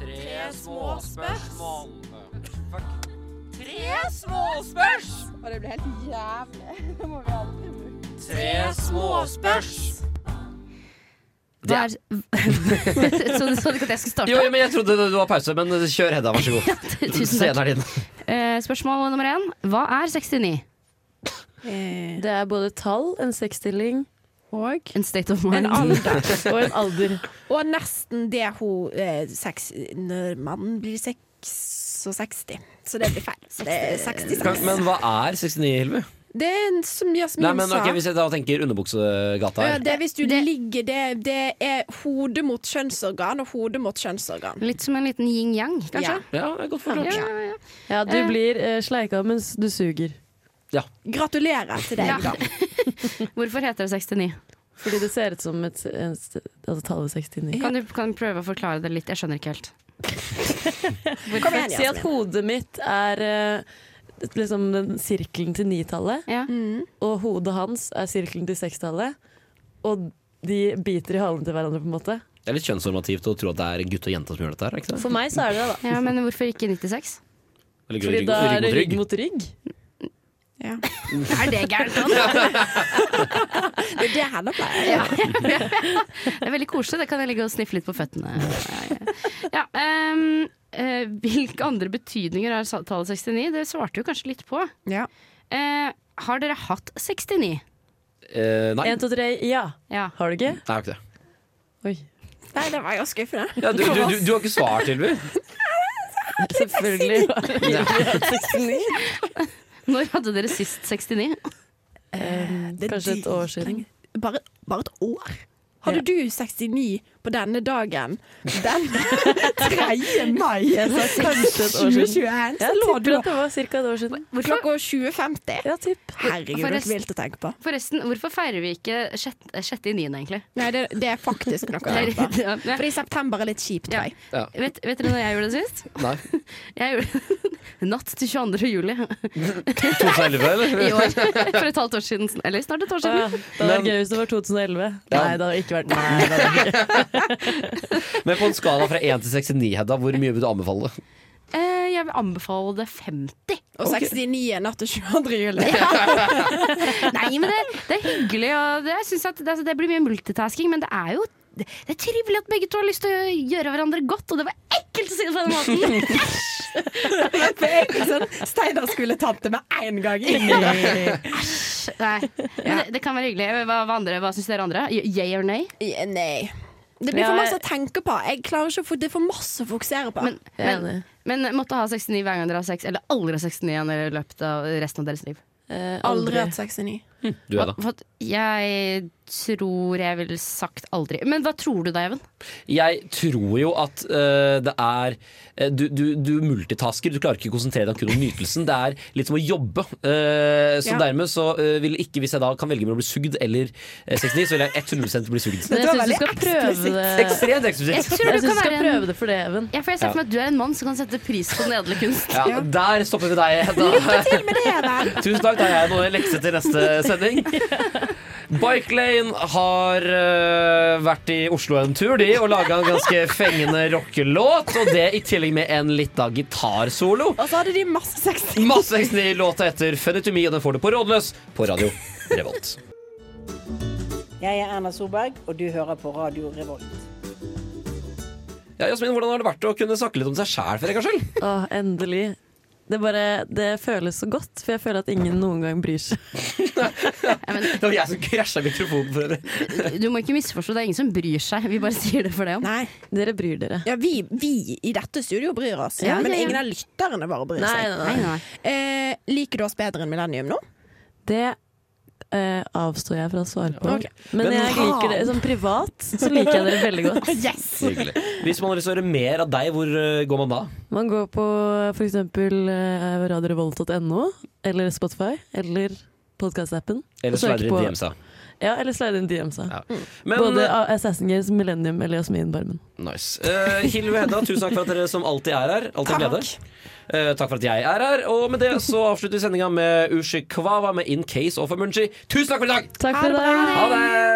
[SPEAKER 1] Tre små spørsmål. Tre små spørsmål. Og det blir helt jævlig. Tre små spørsmål. Det
[SPEAKER 3] Hva
[SPEAKER 1] er-
[SPEAKER 3] er Så du sa ikke at jeg skulle starte?
[SPEAKER 1] Jo, jo, men jeg trodde det var pause, men kjør Hedda, vær så god.
[SPEAKER 3] Tusen takk.
[SPEAKER 1] Scenen er din.
[SPEAKER 3] Eh, spørsmål nummer én. Hva er 69?
[SPEAKER 6] Det er både tall, en seksstilling og
[SPEAKER 3] En state of mind.
[SPEAKER 5] En alder.
[SPEAKER 6] og en alder.
[SPEAKER 5] Og nesten det hun eh, seks, Når mannen blir 66. Så det blir feil. Så det er 66.
[SPEAKER 1] Kan- Men hva er 69, Hilve?
[SPEAKER 5] Det er en- som Jasmin
[SPEAKER 1] Nei, men
[SPEAKER 5] sa.
[SPEAKER 1] ok, Hvis jeg da tenker underbuksegata
[SPEAKER 5] Ja,
[SPEAKER 1] her.
[SPEAKER 5] det er hvis du
[SPEAKER 3] Det-
[SPEAKER 5] ligger det, det er hodet mot kjønnsorgan og hodet mot kjønnsorgan.
[SPEAKER 3] Litt som en liten yin-yang, kanskje?
[SPEAKER 5] Ja.
[SPEAKER 1] Ja, det er godt forklart.
[SPEAKER 3] Ja, ja, ja.
[SPEAKER 6] Ja, du blir eh, sleika mens du suger.
[SPEAKER 5] Gratulerer til deg,
[SPEAKER 3] Ja.
[SPEAKER 5] da.
[SPEAKER 3] Hvorfor heter det 69?
[SPEAKER 6] Fordi det ser ut som et, en, st- altså tallet 69.
[SPEAKER 3] Kan du, kan du prøve å forklare det litt? Jeg skjønner ikke helt.
[SPEAKER 5] Kom igjen,
[SPEAKER 6] Si at
[SPEAKER 5] Jasmin.
[SPEAKER 6] hodet mitt er eh, liksom den sirkelen til nitallet,
[SPEAKER 3] Ja.
[SPEAKER 6] og hodet hans er sirkelen til sekstallet. Og de biter i halen til hverandre, på en måte.
[SPEAKER 1] Det er litt kjønnsnormativt å tro at det er gutt og jente som gjør dette her. ikke det?
[SPEAKER 6] For meg så er det det, da.
[SPEAKER 3] ja, Men hvorfor ikke 96?
[SPEAKER 1] Eller
[SPEAKER 6] Fordi
[SPEAKER 1] rygg-
[SPEAKER 6] da
[SPEAKER 1] rygg
[SPEAKER 6] er det
[SPEAKER 1] mot rygg.
[SPEAKER 6] rygg mot rygg.
[SPEAKER 3] Er det gærent? Anne?
[SPEAKER 5] Det er det henne pleier.
[SPEAKER 3] Ja. Det er veldig koselig. Det kan jeg ligge og sniffe litt på føttene. Ja, ehm, eh, hvilke andre betydninger har sa- tallet 69? Det svarte jo kanskje litt på.
[SPEAKER 5] Ja.
[SPEAKER 3] Eh, har dere hatt 69?
[SPEAKER 1] Eh, nei.
[SPEAKER 6] Én, to, tre, ja.
[SPEAKER 3] Ja.
[SPEAKER 6] Har du ikke?
[SPEAKER 1] Nei, jeg har ikke det.
[SPEAKER 6] Oi.
[SPEAKER 5] Nei, det var jo skuffende.
[SPEAKER 1] Ja, du, du, du, du har ikke svar, Tilby?
[SPEAKER 6] Selvfølgelig. var det
[SPEAKER 3] Når hadde dere sist 69?
[SPEAKER 6] Ehm, Kanskje et år siden.
[SPEAKER 5] Bare, bare et år? Hadde
[SPEAKER 6] Ja.
[SPEAKER 5] du 69 på denne dagen? Den 3. mai
[SPEAKER 6] Kanskje et år siden.
[SPEAKER 5] 2021? Så
[SPEAKER 6] Jeg
[SPEAKER 5] lå du
[SPEAKER 6] tipper at det var ca. et år siden.
[SPEAKER 5] klokka 20.50.
[SPEAKER 6] Ja, tipp.
[SPEAKER 5] Herregud, det er
[SPEAKER 3] Forresten-
[SPEAKER 5] ikke vilt å tenke på.
[SPEAKER 3] Forresten, hvorfor feirer vi ikke sjette, sjette i niende, egentlig?
[SPEAKER 5] Nei, det, det er faktisk noe å
[SPEAKER 3] Det
[SPEAKER 5] tenke på.
[SPEAKER 3] er- ja,
[SPEAKER 5] Fordi september er litt kjipt.
[SPEAKER 3] Ja.
[SPEAKER 5] tror jeg.
[SPEAKER 3] Vet, vet dere når jeg gjorde det sist?
[SPEAKER 1] Nei.
[SPEAKER 3] Jeg gjorde Natt til 22. juli i
[SPEAKER 1] 2011, eller?
[SPEAKER 3] år. For et halvt år siden. Eller snart et år
[SPEAKER 6] Å
[SPEAKER 3] siden.
[SPEAKER 6] ja, det hadde vært gøy hvis det var 2011.
[SPEAKER 1] Ja.
[SPEAKER 6] Nei, det hadde ikke vært Nei, det hadde ikke.
[SPEAKER 1] Men på en skala fra 1 til 69, Hedda, hvor mye vil du anbefale?
[SPEAKER 3] Eh, jeg vil anbefale det 50.
[SPEAKER 5] Og 69 er natt til 22. juli.
[SPEAKER 3] Nei, men det, det er hyggelig, og det, jeg synes at, det, altså, det blir mye multitasking, men det er jo det er trivelig at begge to har lyst til å gjøre hverandre godt, og det var ekkelt å si det på den måten.
[SPEAKER 5] For jeg er sånn, Steinar skulle tatt det med én gang. Nei.
[SPEAKER 3] Nei, men det, det kan være hyggelig. Hva, hva, andre- hva syns dere andre? Yay or nay?
[SPEAKER 5] Nei. Det blir
[SPEAKER 6] Ja,
[SPEAKER 5] for masse å
[SPEAKER 6] jeg-
[SPEAKER 5] tenke på. Jeg klarer ikke å få, det er for masse å fokusere på.
[SPEAKER 3] Men,
[SPEAKER 6] Jeg er
[SPEAKER 3] men,
[SPEAKER 6] enig.
[SPEAKER 3] men måtte ha 69 hver gang dere har sex, eller aldri ha 69 i løpet av resten av deres liv.
[SPEAKER 6] Eh,
[SPEAKER 5] aldri
[SPEAKER 6] aldri.
[SPEAKER 5] hatt 69.
[SPEAKER 1] Du, Edda?
[SPEAKER 3] For at jeg tror jeg ville sagt aldri. Men hva tror du da, Even?
[SPEAKER 1] Jeg tror jo at eh, det er eh, du, du, du multitasker, du klarer ikke å konsentrere deg kun om nytelsen. Det er litt som å jobbe. eh, så
[SPEAKER 5] Ja.
[SPEAKER 1] dermed så eh, vil ikke, hvis jeg da kan velge mellom å bli sugd eller eh, 69, så vil jeg 100 bli sugd.
[SPEAKER 6] Men
[SPEAKER 5] Dette var
[SPEAKER 6] jeg syns du
[SPEAKER 5] veldig
[SPEAKER 6] skal prøve det.
[SPEAKER 1] Ekstremt
[SPEAKER 3] Jeg
[SPEAKER 1] eksklusivt.
[SPEAKER 3] tror
[SPEAKER 6] Jeg
[SPEAKER 3] du
[SPEAKER 6] synes
[SPEAKER 3] kan
[SPEAKER 6] du skal
[SPEAKER 3] være en
[SPEAKER 6] prøve det for det, Even.
[SPEAKER 3] ja, for Jeg ser for meg at du er en mann som kan sette pris på den edle kunst.
[SPEAKER 1] Ja, der stopper vi deg, Hedda.
[SPEAKER 5] Til og med det, Even.
[SPEAKER 1] Tusen takk, da har jeg noe lekse til neste sending. Bike Lane har øh, vært i Oslo en tur, de, og laga en ganske fengende rockelåt. Og det i tillegg med en litt da gitarsolo.
[SPEAKER 5] Og så hadde de masse sex.
[SPEAKER 1] Masse veksten i låta etter Fenitomi, og den får du på Rådløs på Radio Revolt.
[SPEAKER 10] Jeg er Erna Solberg, og du hører på Radio Revolt.
[SPEAKER 1] Ja, Jasmin, hvordan har det vært å kunne snakke litt om seg sjæl for en gangs skyld?
[SPEAKER 6] Å, endelig. Det, bare, det føles så godt, for jeg føler at ingen noen gang bryr seg.
[SPEAKER 1] Det var jeg som krasja mikrofonen for øvrig.
[SPEAKER 3] Du må ikke misforstå, det er ingen som bryr seg. Vi bare sier det for det.
[SPEAKER 5] Nei.
[SPEAKER 6] Dere bryr dere.
[SPEAKER 5] Ja, vi, vi i dette studio bryr oss,
[SPEAKER 3] Ja,
[SPEAKER 5] men
[SPEAKER 3] ja, ja.
[SPEAKER 5] ingen av lytterne våre bryr
[SPEAKER 6] Nei,
[SPEAKER 5] seg.
[SPEAKER 6] nei,
[SPEAKER 3] Nei,
[SPEAKER 6] nei.
[SPEAKER 3] nei.
[SPEAKER 5] Eh, liker du oss bedre enn Millennium nå?
[SPEAKER 6] Det eh, avstår jeg fra å svare på.
[SPEAKER 5] Ok.
[SPEAKER 6] Men
[SPEAKER 1] Men
[SPEAKER 6] jeg liker det som privat, så liker jeg dere veldig godt.
[SPEAKER 5] Yes!
[SPEAKER 1] Hvis man har lyst til å høre mer av deg, hvor øh, går man da?
[SPEAKER 6] Man går på eh, f.eks. eh, radiorevolt.no eller Spotify eller podkastappen.
[SPEAKER 1] Eller
[SPEAKER 6] søker
[SPEAKER 1] sverre
[SPEAKER 6] på-
[SPEAKER 1] DMSA.
[SPEAKER 6] Ja, eller slide inn DMs-a.
[SPEAKER 1] Ja. Men, eh,
[SPEAKER 6] Både A- Assassin Games, Millennium eller Jasmin Barmen.
[SPEAKER 1] Nice. Eh, Hilve og Hedda, tusen takk for at dere som alltid er her. Alltid en glede. Eh, takk for at jeg er her. Og med det så avslutter vi sendinga med Ushikwawa med In Case of Emergency. Tusen takk for i dag!
[SPEAKER 6] Takk for i dag!
[SPEAKER 1] Ha det!